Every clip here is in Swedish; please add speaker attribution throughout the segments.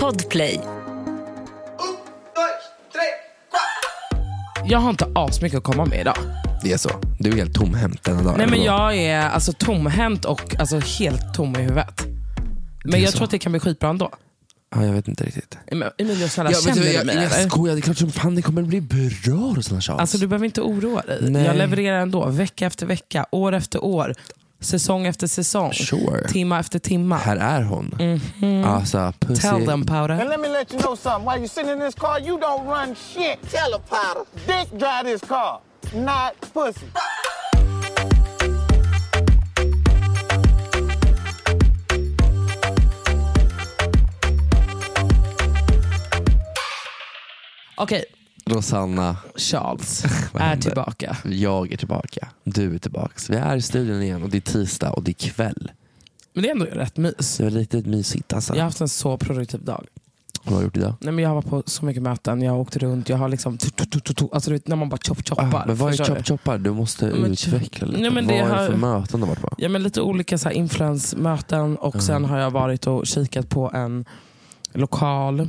Speaker 1: Podplay.
Speaker 2: Jag har inte asmycket att komma med idag.
Speaker 3: Det är så. Du är helt tomhänt denna dag.
Speaker 2: Nej men jag är alltså tomhänt och alltså helt tom i huvudet. Men
Speaker 3: är
Speaker 2: jag
Speaker 3: så.
Speaker 2: tror att det kan bli skitbra ändå.
Speaker 3: Ja, jag vet inte riktigt.
Speaker 2: Men Emilio, snälla
Speaker 3: Ja, men
Speaker 2: känner
Speaker 3: du,
Speaker 2: du
Speaker 3: jag,
Speaker 2: mig
Speaker 3: jag
Speaker 2: eller?
Speaker 3: skojar, det är klart som fan det kommer bli bra och sådana tjafs.
Speaker 2: Alltså du behöver inte oroa dig.
Speaker 3: Nej.
Speaker 2: Jag levererar ändå, vecka efter vecka, år efter år, säsong efter säsong,
Speaker 3: Sure.
Speaker 2: timma efter timma.
Speaker 3: Här är hon. Alltså, pussy.
Speaker 2: Mhm. Tell them powder.
Speaker 4: And let me let you know something. While you're sitting in this car, you don't run shit. Tell a powder. Dick drive this car, not pussy.
Speaker 2: Okej,
Speaker 3: Rosanna,
Speaker 2: Charles
Speaker 3: Vad
Speaker 2: är
Speaker 3: händer?
Speaker 2: tillbaka.
Speaker 3: jag är tillbaka. Du är tillbaka. Vi är i studion igen och det är tisdag och det är kväll.
Speaker 2: Men det är ändå rätt mys.
Speaker 3: Så det var lite mysigt alltså.
Speaker 2: Jag har haft en så produktiv dag.
Speaker 3: Vad har du gjort idag?
Speaker 2: Nej, men jag var på så mycket möten, jag åkte runt, jag har liksom... tu- tu- tu- tu- tu- Alltså, du vet, när man bara chop-choppar.
Speaker 3: Ah, men vad är
Speaker 2: förstår du?
Speaker 3: chop choppar? Du måste
Speaker 2: men-
Speaker 3: utveckla lite.
Speaker 2: Nej, men
Speaker 3: vad
Speaker 2: det
Speaker 3: är det
Speaker 2: har-
Speaker 3: för möten du har varit på?
Speaker 2: Ja, men lite olika så här influensmöten och sen har jag varit och kikat på en lokal.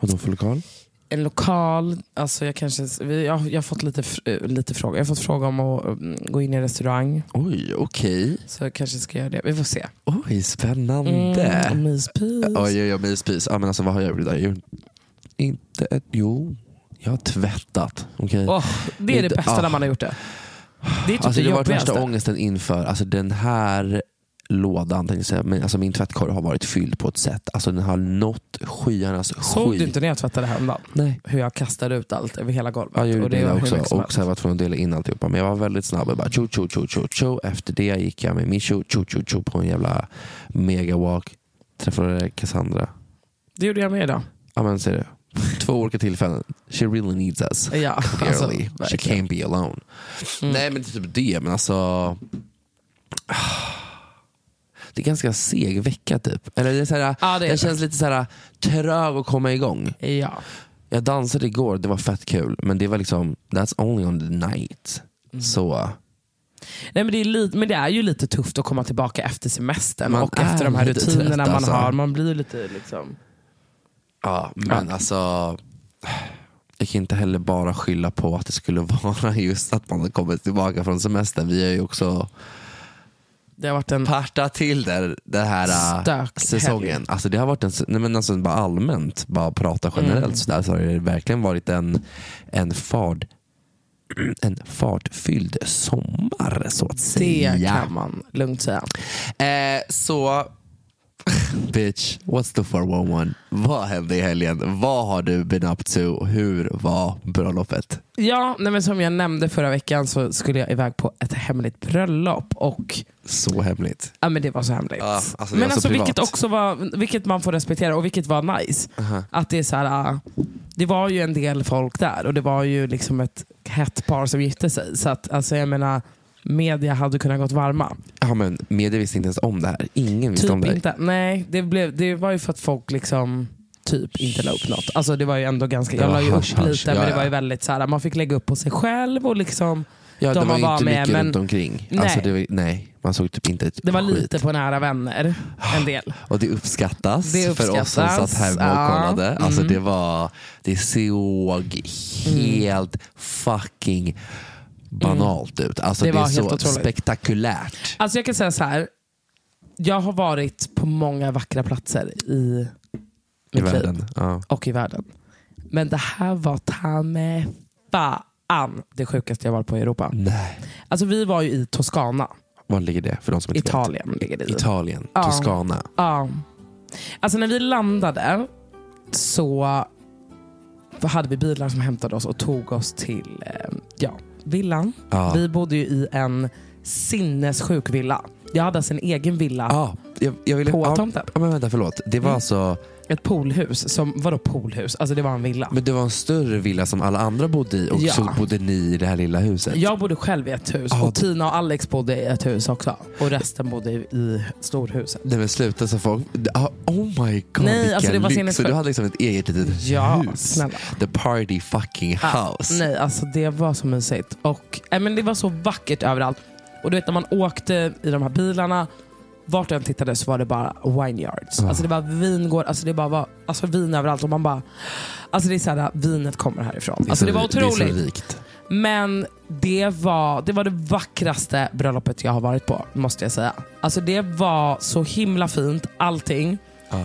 Speaker 3: Vadå för lokal?
Speaker 2: En lokal, alltså jag, kanske, vi- jag, jag har fått lite, fr- eh, lite frågor. Jag har fått fråga om att mm, gå in i restaurang.
Speaker 3: Oj, okej.
Speaker 2: Så jag kanske ska göra det. Vi får se.
Speaker 3: Oj, spännande.
Speaker 2: Mm, myspys.
Speaker 3: Oj, oj, oj, myspys. Ja, men alltså, vad har jag gjort idag? Jag gjorde Inte ett... Jo, jag har tvättat. Okej.
Speaker 2: Åh, det är det
Speaker 3: Inte-
Speaker 2: bästa
Speaker 3: ah.
Speaker 2: när man har gjort det. Det är typ
Speaker 3: alltså,
Speaker 2: det
Speaker 3: det har varit
Speaker 2: jobbigaste.
Speaker 3: värsta ångesten inför alltså, den här lådan. tänkte jag säga. Men, alltså, min tvättkorg har varit fylld på ett sätt. Alltså, den har nått skyarnas
Speaker 2: Såg
Speaker 3: sky.
Speaker 2: du inte när jag tvättade häromdagen?
Speaker 3: Nej.
Speaker 2: Hur jag kastade ut allt över hela golvet.
Speaker 3: Ja, jag gjorde
Speaker 2: och det var
Speaker 3: det
Speaker 2: hur
Speaker 3: också.
Speaker 2: mycket som
Speaker 3: Och
Speaker 2: helst.
Speaker 3: så här var jag tvungen att dela in alltihopa. Men jag var väldigt snabb. Jag bara, tjo, tjo, tjo, tjo, tjo. Efter det gick jag med min tjo, tjo, tjo, tjo på en jävla megawalk. Träffade Cassandra.
Speaker 2: Det gjorde jag med idag.
Speaker 3: Ja men ser du. Två olika tillfällen. She really needs us.
Speaker 2: Ja, alltså,
Speaker 3: Clearly. She
Speaker 2: verkligen. Mm.
Speaker 3: can't be alone. Nej men det är typ det. Men alltså. ah, Det är ganska seg vecka typ. Eller det är så här,
Speaker 2: Ja, det är
Speaker 3: jag
Speaker 2: det.
Speaker 3: känns lite så här trög att komma igång.
Speaker 2: ja.
Speaker 3: Jag dansade igår, det var fett kul. Men det var liksom, that's only on the night.
Speaker 2: Mm.
Speaker 3: Så
Speaker 2: Nej, men, det är lite, men det är ju lite tufft att komma tillbaka efter semestern
Speaker 3: Man
Speaker 2: och efter de här
Speaker 3: är lite trött,
Speaker 2: rutinerna man
Speaker 3: alltså.
Speaker 2: har. Man blir lite liksom...
Speaker 3: ja, men alltså. Jag kan inte heller bara skylla på att det skulle vara just att man har kommit tillbaka från semestern. Vi är ju också
Speaker 2: Det har varit en...
Speaker 3: parta till där, den här äh,
Speaker 2: Mm. Stök- helg.
Speaker 3: säsongen. Alltså det har varit en, s- nej men alltså bara allmänt, bara prata generellt
Speaker 2: Mm.
Speaker 3: sådär, så har det verkligen varit en, en fard en fartfylld sommar så att
Speaker 2: Det
Speaker 3: säga.
Speaker 2: kan man lugnt säga.
Speaker 3: Eh, så, bitch, what's the 411? Vad hände i helgen? Vad har du been up to? Hur var bröllopet?
Speaker 2: Ja, nej, men som jag nämnde förra veckan så skulle jag iväg på ett hemligt bröllop och
Speaker 3: Så hemligt.
Speaker 2: Ja men det var så hemligt.
Speaker 3: Ja, alltså,
Speaker 2: men
Speaker 3: det var så
Speaker 2: alltså, vilket,
Speaker 3: privat.
Speaker 2: också var, vilket man får respektera och vilket var nice. Att det är så här, ah, det var ju en del folk där och det var ju liksom ett hett par som gifte sig. Så att, alltså, jag menar, media hade kunnat gått varma.
Speaker 3: Ja, men media visste inte ens om det här. Ingen visste om det
Speaker 2: Typ
Speaker 3: här.
Speaker 2: inte. Nej, det, blev, det var ju för att folk liksom typ inte la upp något. Alltså det var ju ändå ganska, jag
Speaker 3: Det var
Speaker 2: la ju upp
Speaker 3: hush, hush.
Speaker 2: lite
Speaker 3: Ja,
Speaker 2: men det
Speaker 3: ja.
Speaker 2: var ju väldigt så här, man fick lägga upp på sig själv och liksom
Speaker 3: Ja,
Speaker 2: de
Speaker 3: det
Speaker 2: man
Speaker 3: var ju
Speaker 2: var
Speaker 3: inte
Speaker 2: med.
Speaker 3: mycket
Speaker 2: Men
Speaker 3: runt omkring.
Speaker 2: Nej.
Speaker 3: Nej. Alltså, det var, nej, man såg typ inte ett
Speaker 2: det var
Speaker 3: skit.
Speaker 2: lite på nära vänner. En del.
Speaker 3: Och det uppskattas,
Speaker 2: Det
Speaker 3: för oss som
Speaker 2: uppskattas,
Speaker 3: satt här och
Speaker 2: ja. Mm.
Speaker 3: kollade. Alltså det var, det såg helt fucking banalt ut. Alltså
Speaker 2: Mm. Det
Speaker 3: det,
Speaker 2: var
Speaker 3: är så
Speaker 2: helt otroligt.
Speaker 3: spektakulärt.
Speaker 2: Alltså jag kan säga så här. Jag har varit på många vackra platser i
Speaker 3: I
Speaker 2: mitt liv
Speaker 3: världen. Ja.
Speaker 2: och i världen. Men det här var ta mig fan det sjukaste jag varit på i Europa.
Speaker 3: Nej.
Speaker 2: Alltså vi var ju i Toscana,
Speaker 3: Var ligger det för de som inte
Speaker 2: Italien ligger det
Speaker 3: vet?
Speaker 2: i.
Speaker 3: Italien,
Speaker 2: Ja.
Speaker 3: Toscana.
Speaker 2: Ja. Alltså när vi landade så hade vi bilar som hämtade oss och tog oss till eh, ja, villan.
Speaker 3: Ja.
Speaker 2: Vi bodde ju i en sinnessjuk villa. Jag hade alltså en egen villa
Speaker 3: Ja, jag, jag ville,
Speaker 2: på
Speaker 3: ja,
Speaker 2: tomten.
Speaker 3: ja, men vänta, förlåt. Det var
Speaker 2: Mm.
Speaker 3: alltså,
Speaker 2: Ett poolhus, som, vadå poolhus? Alltså det var en villa.
Speaker 3: men det var en större villa som alla andra bodde i och
Speaker 2: Ja.
Speaker 3: så bodde ni i det här lilla huset.
Speaker 2: jag bodde själv i ett hus
Speaker 3: Ja,
Speaker 2: och
Speaker 3: det-
Speaker 2: Tina och Alex bodde i ett hus också. Och resten bodde i- i storhuset.
Speaker 3: Nej men sluta så folk, ah, oh my god
Speaker 2: Nej,
Speaker 3: vilken
Speaker 2: alltså det var
Speaker 3: lyx. Så
Speaker 2: sinnessjukt.
Speaker 3: du hade liksom ett eget litet
Speaker 2: Ja,
Speaker 3: hus.
Speaker 2: snälla.
Speaker 3: The party fucking
Speaker 2: Ah,
Speaker 3: house.
Speaker 2: Nej, alltså det var så eh, mysigt. Och, äh, men det var så vackert överallt. Och du vet när man åkte i de här bilarna vart jag än tittade så var det bara wineyards. Alltså det var vingård, alltså det bara var alltså vin överallt. Och man bara, alltså det är såhär, vinet kommer härifrån.
Speaker 3: är
Speaker 2: alltså
Speaker 3: så-
Speaker 2: det var otroligt.
Speaker 3: Det är så rikt.
Speaker 2: Men det var, det var det vackraste bröllopet jag har varit på, måste jag säga. Alltså det var så himla fint, allting.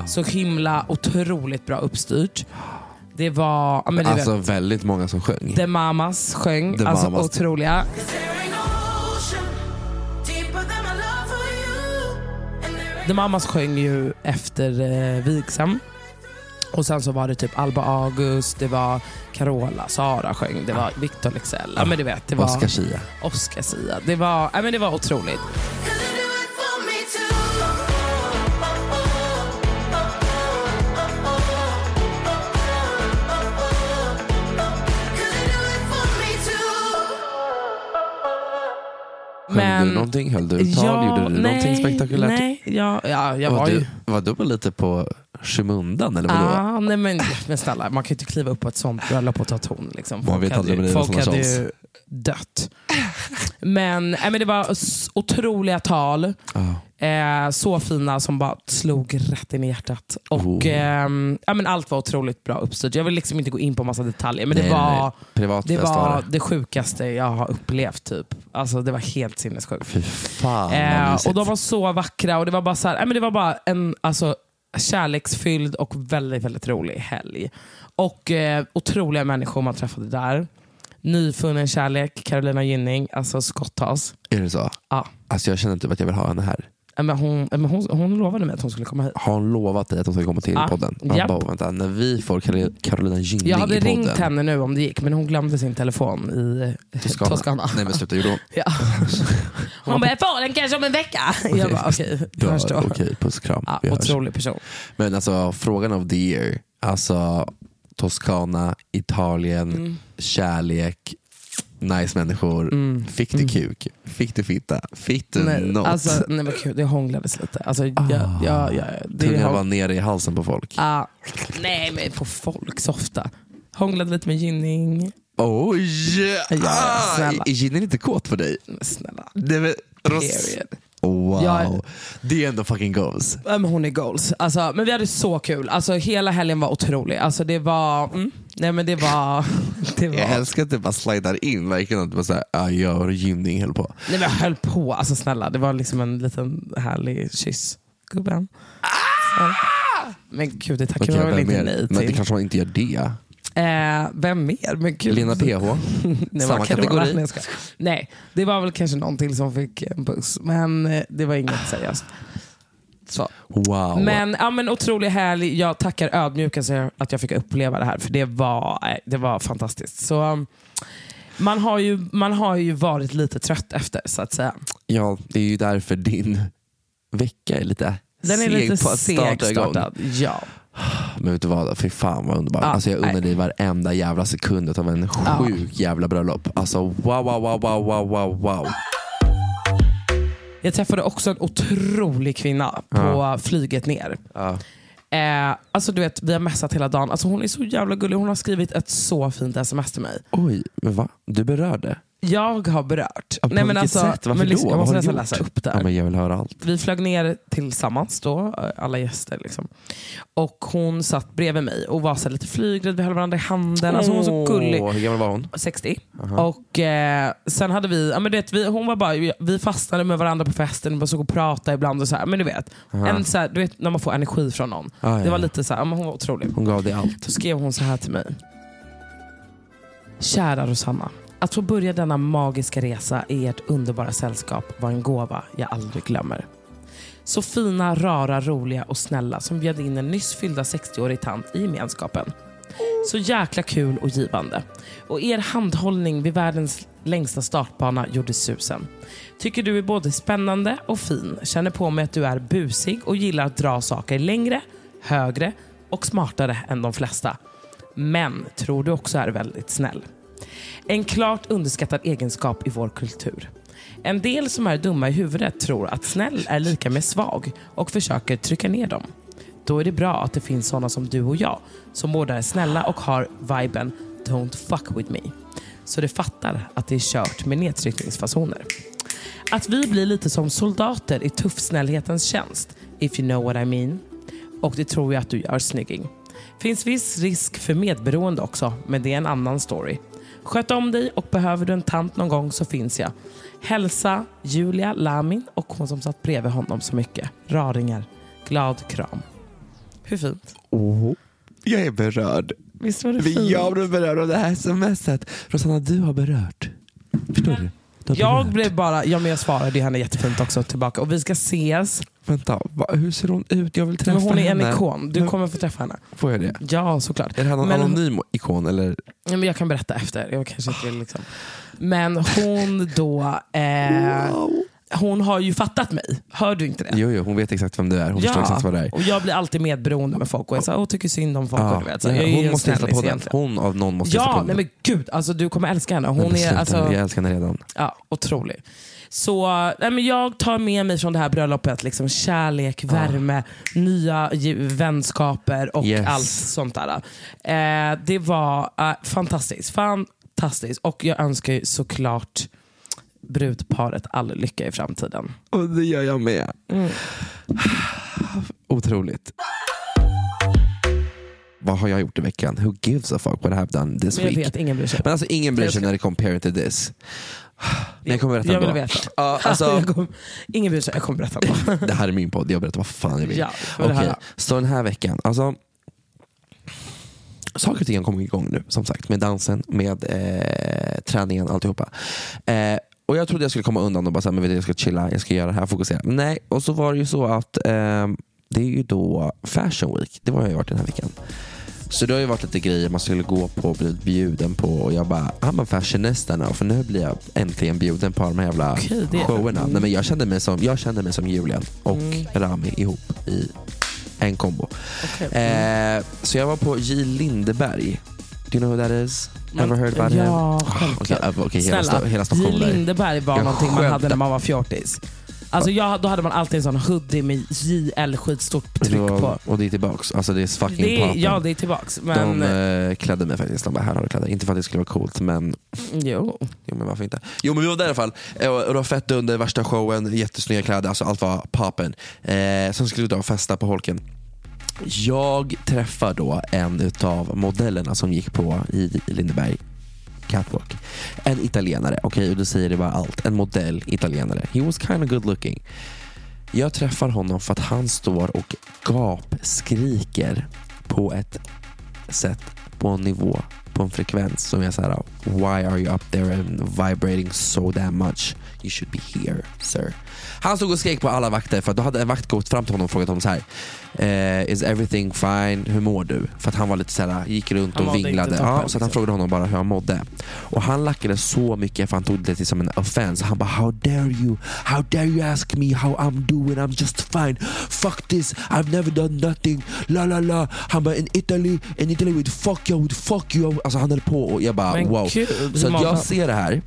Speaker 2: Så himla otroligt bra uppstyrt. Det var, ja, men du
Speaker 3: Alltså
Speaker 2: vet,
Speaker 3: väldigt många som sjöng.
Speaker 2: The Mamas sjöng,
Speaker 3: Mm. The
Speaker 2: alltså
Speaker 3: Mamas.
Speaker 2: otroliga. The Mamas sjöng ju efter eh, vigseln. Och sen så var det typ Alba August, det var Carola, Sara sjöng, det var Victor Leksell. Ja, men du vet, det var
Speaker 3: Ah. Oscar Schia.
Speaker 2: Oscar Sia. Det var, ja, men det var otroligt.
Speaker 3: Sjöng du någonting? Höll du tal? Gjorde du någonting spektakulärt?
Speaker 2: Nej, ja, ja, jag var,
Speaker 3: Var
Speaker 2: ju...
Speaker 3: du, var du bara lite på skymundan eller vadå?
Speaker 2: Ah, nej men, men snälla, man kan ju inte kliva upp på ett sånt bröllop och ta ton. Liksom.
Speaker 3: Man vet aldrig
Speaker 2: hade,
Speaker 3: med
Speaker 2: ju-
Speaker 3: det,
Speaker 2: folk
Speaker 3: sådana
Speaker 2: hade
Speaker 3: chans.
Speaker 2: ju dött. Men, nej, men det var s- otroliga tal.
Speaker 3: Ja.
Speaker 2: Eh, så fina som bara slog rätt in i hjärtat. Och,
Speaker 3: Oh.
Speaker 2: ehm, ja, men allt var otroligt bra uppstyrt. Jag vill liksom inte gå in på massa detaljer, men det
Speaker 3: Nej,
Speaker 2: var,
Speaker 3: nej. Privatfest
Speaker 2: det, var
Speaker 3: var det.
Speaker 2: det sjukaste jag har upplevt. Typ. Alltså, det var helt sinnessjukt.
Speaker 3: Fy fan vad
Speaker 2: Eh,
Speaker 3: mysigt.
Speaker 2: och de var så vackra och det var bara, så här, nej, men det var bara en alltså, kärleksfylld och väldigt, väldigt rolig helg. Och eh, otroliga människor man träffade där. Nyfunnen kärlek, Carolina Gynning, alltså skottas.
Speaker 3: Är det så?
Speaker 2: Ja.
Speaker 3: Alltså jag känner typ att jag vill ha henne här.
Speaker 2: Eh, Men hon, eh, men hon, hon lovade mig att hon skulle komma hit.
Speaker 3: Har hon lovat dig att hon ska komma till
Speaker 2: Ja.
Speaker 3: podden? Man
Speaker 2: Ah, Japp.
Speaker 3: bara, vänta, när vi får Karol- Carolina Gynning
Speaker 2: Jag hade
Speaker 3: i podden.
Speaker 2: ringt henne nu om det gick, men hon glömde sin telefon i eh,
Speaker 3: Toscana.
Speaker 2: Toscana.
Speaker 3: Nej men sluta, gjorde hon?
Speaker 2: Ja. Hon bara, jag får den kanske om en vecka. Jag bara, okej, jag
Speaker 3: Ja,
Speaker 2: förstår.
Speaker 3: Okej, puss och kram.
Speaker 2: Ja,
Speaker 3: Vi hörs.
Speaker 2: otrolig person.
Speaker 3: Men alltså frågan of the year. Alltså Toscana, Italien,
Speaker 2: Mm.
Speaker 3: kärlek, nice människor. Fick du kuk? Fick du fitta? Fick du
Speaker 2: Mm. Nej,
Speaker 3: något?
Speaker 2: alltså, nej men gud, det hånglades lite. Alltså, jag,
Speaker 3: Ah.
Speaker 2: jag, jag, det
Speaker 3: Tungan
Speaker 2: hång-
Speaker 3: var nere i halsen på folk.
Speaker 2: Ah, nej men på folk så ofta. Hånglade lite med Gynning.
Speaker 3: Oj!
Speaker 2: ja,
Speaker 3: ah,
Speaker 2: snälla.
Speaker 3: är Ginin inte kåt för dig?
Speaker 2: Men Snälla.
Speaker 3: Nej, men, Ros-
Speaker 2: Period.
Speaker 3: wow,
Speaker 2: Jag-
Speaker 3: det är ändå fucking goals.
Speaker 2: Ja, men hon är goals. Alltså, men vi hade så kul. Alltså, hela helgen var otrolig. Alltså, det var... Mm, nej men det var... Det var
Speaker 3: Jag älskar att du bara slidar in, verkligen att du bara såhär, ah, jag och Gynning höll på.
Speaker 2: nej, men jag höll på. Alltså snälla, det var liksom en liten härlig kyss. Gubben. Så. Men gud, det tackar
Speaker 3: Okej,
Speaker 2: man väl
Speaker 3: vem
Speaker 2: inte
Speaker 3: mer?
Speaker 2: nej
Speaker 3: Men det
Speaker 2: till.
Speaker 3: kanske man inte gör det.
Speaker 2: Eh, vem mer? Men gud.
Speaker 3: Lena PH,
Speaker 2: Nej,
Speaker 3: samma
Speaker 2: vad kan det vara?
Speaker 3: kategori.
Speaker 2: Nej, jag skojar. Nej, det var väl kanske någon till som fick en puss, men eh, det var inget seriöst. Så.
Speaker 3: Wow.
Speaker 2: Men, ja, men otrolig helg. Jag tackar ödmjukast att jag fick uppleva det här, för det var, nej, det var fantastiskt. Så, um, man, har ju, man har ju varit lite trött efter, så att säga.
Speaker 3: Ja, det är ju därför din vecka är lite
Speaker 2: Den är
Speaker 3: seg
Speaker 2: lite
Speaker 3: på att starta igång.
Speaker 2: segstartad. Ja.
Speaker 3: Men vet du vad, fy fan vad underbart.
Speaker 2: Ja,
Speaker 3: alltså jag unnar
Speaker 2: nej.
Speaker 3: dig varenda jävla sekund av en sjuk jävla bröllop. Alltså wow, wow, wow, wow, wow, wow, wow.
Speaker 2: Jag träffade också en otrolig kvinna på flyget ner.
Speaker 3: Ja.
Speaker 2: Eh, alltså du vet, vi har messat hela dagen. Alltså, hon är så jävla gullig. Hon har skrivit ett så fint sms till mig.
Speaker 3: Oj, men va? Du berörde?
Speaker 2: Jag har berört.
Speaker 3: Ja, på
Speaker 2: Nej, men
Speaker 3: vilket
Speaker 2: alltså,
Speaker 3: sätt? Varför
Speaker 2: men liksom,
Speaker 3: då?
Speaker 2: Jag
Speaker 3: Vad
Speaker 2: måste
Speaker 3: har du
Speaker 2: nästan läsa
Speaker 3: gjort?
Speaker 2: upp det
Speaker 3: Ja,
Speaker 2: här.
Speaker 3: men jag vill höra allt.
Speaker 2: Vi flög ner tillsammans då, alla gäster. Liksom. Och hon satt bredvid mig och var så här lite flygrädd. Vi höll varandra i handen. Alltså, hon var så gullig.
Speaker 3: Åh, Hur gammal var hon?
Speaker 2: 60. Och eh, sen hade vi, ja, men du vet, vi, hon var bara, vi fastnade med varandra på festen, vi bara såg och pratade ibland. Och så här, men du vet, en, så här, du vet när man får energi från någon.
Speaker 3: Ah,
Speaker 2: det
Speaker 3: ja.
Speaker 2: var lite så här, ja, men hon var otrolig.
Speaker 3: Hon gav dig allt.
Speaker 2: Så skrev hon så här till mig. Kära Rosanna. Att få börja denna magiska resa i ert underbara sällskap var en gåva jag aldrig glömmer. Så fina, rara, roliga och snälla som bjöd in en nyss fyllda 60-årig tant i gemenskapen. Så jäkla kul och givande. Och er handhållning vid världens längsta startbana gjorde susen. Tycker du är både spännande och fin. Känner på mig att du är busig och gillar att dra saker längre, högre och smartare än de flesta. Men tror du också är väldigt snäll. En klart underskattad egenskap i vår kultur. En del som är dumma i huvudet tror att snäll är lika med svag och försöker trycka ner dem. Då är det bra att det finns sådana som du och jag som båda är snälla och har viben “Don't fuck with me”. Så de fattar att det är kört med nedtryckningsfasoner. Att vi blir lite som soldater i tuffsnällhetens tjänst, if you know what I mean. Och det tror jag att du gör, snygging. Finns viss risk för medberoende också, men det är en annan story. Sköt om dig och behöver du en tant någon gång så finns jag. Hälsa Julia Lamin och hon som satt bredvid honom så mycket. Raringar. Glad kram. Hur fint?
Speaker 3: Oh, jag är berörd.
Speaker 2: Visst var det
Speaker 3: Men
Speaker 2: fint?
Speaker 3: Jag blev berörd av det här smset. Rosanna, du har berört. Förstår du? du har
Speaker 2: Jag
Speaker 3: berört.
Speaker 2: blev bara, ja men jag svarade ju henne jättefint också tillbaka och vi ska ses.
Speaker 3: Vänta, va, hur ser hon ut? Jag vill träffa
Speaker 2: Men hon är en
Speaker 3: henne.
Speaker 2: ikon, du
Speaker 3: Men-
Speaker 2: kommer få träffa henne.
Speaker 3: Får jag det?
Speaker 2: Ja såklart.
Speaker 3: Är det här någon
Speaker 2: Men-
Speaker 3: anonym Ah. ikon? Eller?
Speaker 2: Ja, men jag kan berätta efter, jag kanske inte vill liksom. Men hon då, eh,
Speaker 3: Wow.
Speaker 2: hon har ju fattat mig. Hör du inte det?
Speaker 3: Jo, jo, hon vet exakt vem du är. Hon förstår exakt vad det är.
Speaker 2: och jag blir alltid medberoende med folk och jag, så, här, "Åh, tycker synd om folk. och du vet, så, här,
Speaker 3: nej,
Speaker 2: jag är ju
Speaker 3: hon
Speaker 2: en
Speaker 3: måste hälsa
Speaker 2: snällis
Speaker 3: på den.
Speaker 2: egentligen.
Speaker 3: Hon av någon måste hälsa
Speaker 2: Ja,
Speaker 3: på
Speaker 2: nej
Speaker 3: den.
Speaker 2: men gud. Alltså, du kommer älska henne.
Speaker 3: Nej,
Speaker 2: Hon
Speaker 3: men
Speaker 2: är,
Speaker 3: sluta.
Speaker 2: alltså,
Speaker 3: Jag älskar henne redan.
Speaker 2: Ja, otrolig. Så nej, men jag tar med mig från det här bröllopet liksom kärlek, värme, nya ju- vänskaper och
Speaker 3: Yes.
Speaker 2: allt sånt där. Eh, det var eh, fantastiskt. Fantastiskt. Och jag önskar ju såklart brudparet all lycka i framtiden.
Speaker 3: Och det gör jag med.
Speaker 2: Mm.
Speaker 3: Otroligt. Vad har jag gjort i veckan? Who gives a fuck what I have done this
Speaker 2: Men jag
Speaker 3: week?
Speaker 2: vet, ingen bryr sig.
Speaker 3: Men alltså ingen bryr
Speaker 2: Jag
Speaker 3: sig
Speaker 2: ska-
Speaker 3: när det compared to this. Men jag kommer berätta
Speaker 2: Jag vill
Speaker 3: ändå.
Speaker 2: veta.
Speaker 3: Ja, alltså,
Speaker 2: jag kommer, ingen bryr sig, jag kommer berätta.
Speaker 3: det här är min podd, jag berättar vad fan jag vill.
Speaker 2: ja, för det
Speaker 3: Okej,
Speaker 2: här.
Speaker 3: så den här veckan. Alltså, saker och ting har kommit igång nu, som sagt. Med dansen, med eh, träningen, alltihopa. Eh, och jag trodde jag skulle komma undan och bara säga, men vet du, jag ska chilla, jag ska göra det här, fokusera. Men nej, och så var det ju så att eh, det är ju då Fashion Week. Det var jag ju varit den här veckan. Så det har ju varit lite grejer man skulle gå på och bli bjuden på och jag bara, "Ah, I'm a fashionista now för nu blir jag äntligen bjuden på de här jävla
Speaker 2: Okej, det- Mm.
Speaker 3: showerna. Nej, men jag, kände mig som, jag kände mig som Julian och Rami ihop i en kombo.
Speaker 2: Okej.
Speaker 3: Eh, så jag var på J Lindeberg. Do you know who that is?
Speaker 2: Men-
Speaker 3: Ever heard about him? Ah,
Speaker 2: Ja,
Speaker 3: Okej,
Speaker 2: självklart.
Speaker 3: okay, hela,
Speaker 2: Snälla,
Speaker 3: sta- hela
Speaker 2: J.
Speaker 3: stationen där.
Speaker 2: Lindeberg var
Speaker 3: Jag
Speaker 2: någonting man
Speaker 3: skämtar.
Speaker 2: hade när man var fjortis. Alltså jag, då hade man alltid en sån hoodie med JL skitstort tryck
Speaker 3: Så,
Speaker 2: på.
Speaker 3: och det är tillbaks. Alltså det är fucking
Speaker 2: Det är,
Speaker 3: poppen.
Speaker 2: ja, det är tillbaks. Men
Speaker 3: De eh, klädde mig faktiskt. De bara, här har du kläder. Inte för att det skulle vara coolt, men
Speaker 2: jo.
Speaker 3: Jo men varför inte? Jo men vi var där i alla fall. Eh, Och det var fett under värsta showen, jättesnygga kläder, alltså allt var papen. Eh, sen skulle vi då och festa på Holken. Jag träffar då en utav modellerna som gick på i Lindeberg catwalk. En italienare, okej och du säger det bara allt. En modell italienare. He was kind of good looking. Jag träffar honom för att han står och gapskriker på ett sätt, på en nivå, på en frekvens som jag säger Why are you up there and vibrating so damn much? You should be here, sir. Han stod och skrek på alla vakter för att då hade en vakt gått fram till honom och frågat honom så här. Eh, is everything fine? Hur mår du? För att han var lite så här, gick runt
Speaker 2: Han
Speaker 3: och
Speaker 2: mådde inte
Speaker 3: vinglade.
Speaker 2: toppen,
Speaker 3: Ja, så att han
Speaker 2: liksom.
Speaker 3: frågade honom bara hur han mådde. Och han lackade så mycket för han tog det till som en offense. Han bara How dare you? How dare you ask me how I'm doing? I'm just fine. Fuck this. I've never done nothing. La la la. Han bara In Italy, in Italy would fuck you, would fuck you. Alltså han höll på och jag bara
Speaker 2: Men
Speaker 3: wow.
Speaker 2: gud,
Speaker 3: Så att
Speaker 2: Malin.
Speaker 3: jag ser det här,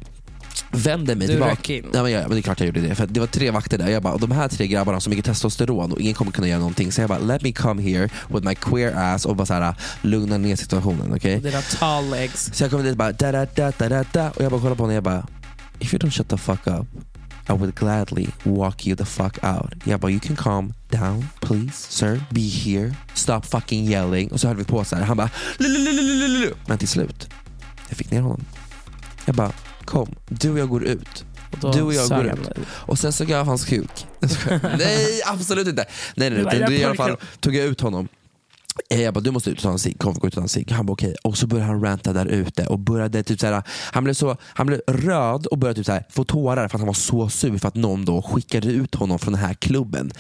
Speaker 3: vänder mig
Speaker 2: Du rök
Speaker 3: tillbaka.
Speaker 2: in.
Speaker 3: Ja, men, ja, men det är klart jag gjorde det. För att det var tre vakter där. Jag bara, de här tre grabbarna har så mycket testosteron och ingen kommer kunna göra någonting. Så jag bara, let me come here with my queer ass och bara så här, lugna ner situationen. Okej?
Speaker 2: Dina tall legs.
Speaker 3: Så jag kommer dit och bara da, da, da, da, da, da. Och jag bara kollar på honom och jag bara If you don't shut the fuck up I would gladly walk you the fuck out. Jag bara you can calm down please sir. Be here. Stop fucking yelling. Och så höll vi på så här. Han bara "Lulululululu." Men till slut, jag fick ner honom. Jag bara kom, du och jag går ut.
Speaker 2: Och då
Speaker 3: Du och jag
Speaker 2: sög
Speaker 3: går
Speaker 2: han
Speaker 3: ut.
Speaker 2: mig.
Speaker 3: Och sen såg jag av hans kuk. nej, absolut inte. Nej, nej,
Speaker 2: Du bara,
Speaker 3: nej. Utan
Speaker 2: jag
Speaker 3: I alla
Speaker 2: pojkar.
Speaker 3: fall tog jag ut honom. Eh, Jag bara, du måste ut och ta en cigg. Kom, vi går ut och ta en cigg. Han bara, okej. Och så började han ranta där ute. Och började typ så här, han, blev så, han blev röd och började typ så här, få tårar för att han var så sur för att någon då skickade ut honom från den här klubben.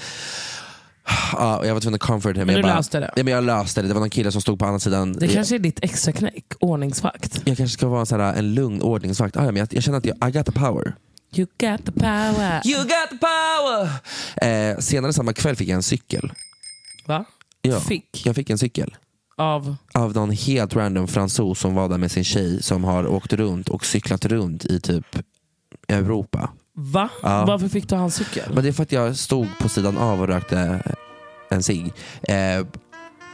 Speaker 3: Ja, och jag var tvungen att comfort him.
Speaker 2: Men
Speaker 3: jag
Speaker 2: du
Speaker 3: bara,
Speaker 2: löste det?
Speaker 3: Ja, men jag löste det. Det var någon kille som stod på andra sidan.
Speaker 2: Det
Speaker 3: eh,
Speaker 2: kanske är ditt extra knäck, ordningsvakt.
Speaker 3: Jag kanske ska vara en, så här, en lugn ordningsvakt. Ah, ja, men jag, jag känner att jag, I got the power.
Speaker 2: You got the power.
Speaker 3: You got the power! Eh, senare samma kväll fick jag en cykel.
Speaker 2: Va?
Speaker 3: Ja,
Speaker 2: Fick?
Speaker 3: Jag fick en cykel
Speaker 2: Av?
Speaker 3: av någon helt random fransos som var där med sin tjej som har åkt runt och cyklat runt i typ Europa.
Speaker 2: Va?
Speaker 3: Ja.
Speaker 2: Varför fick du hans cykel?
Speaker 3: Men det är för att jag stod på sidan av och rökte en cigg. Eh,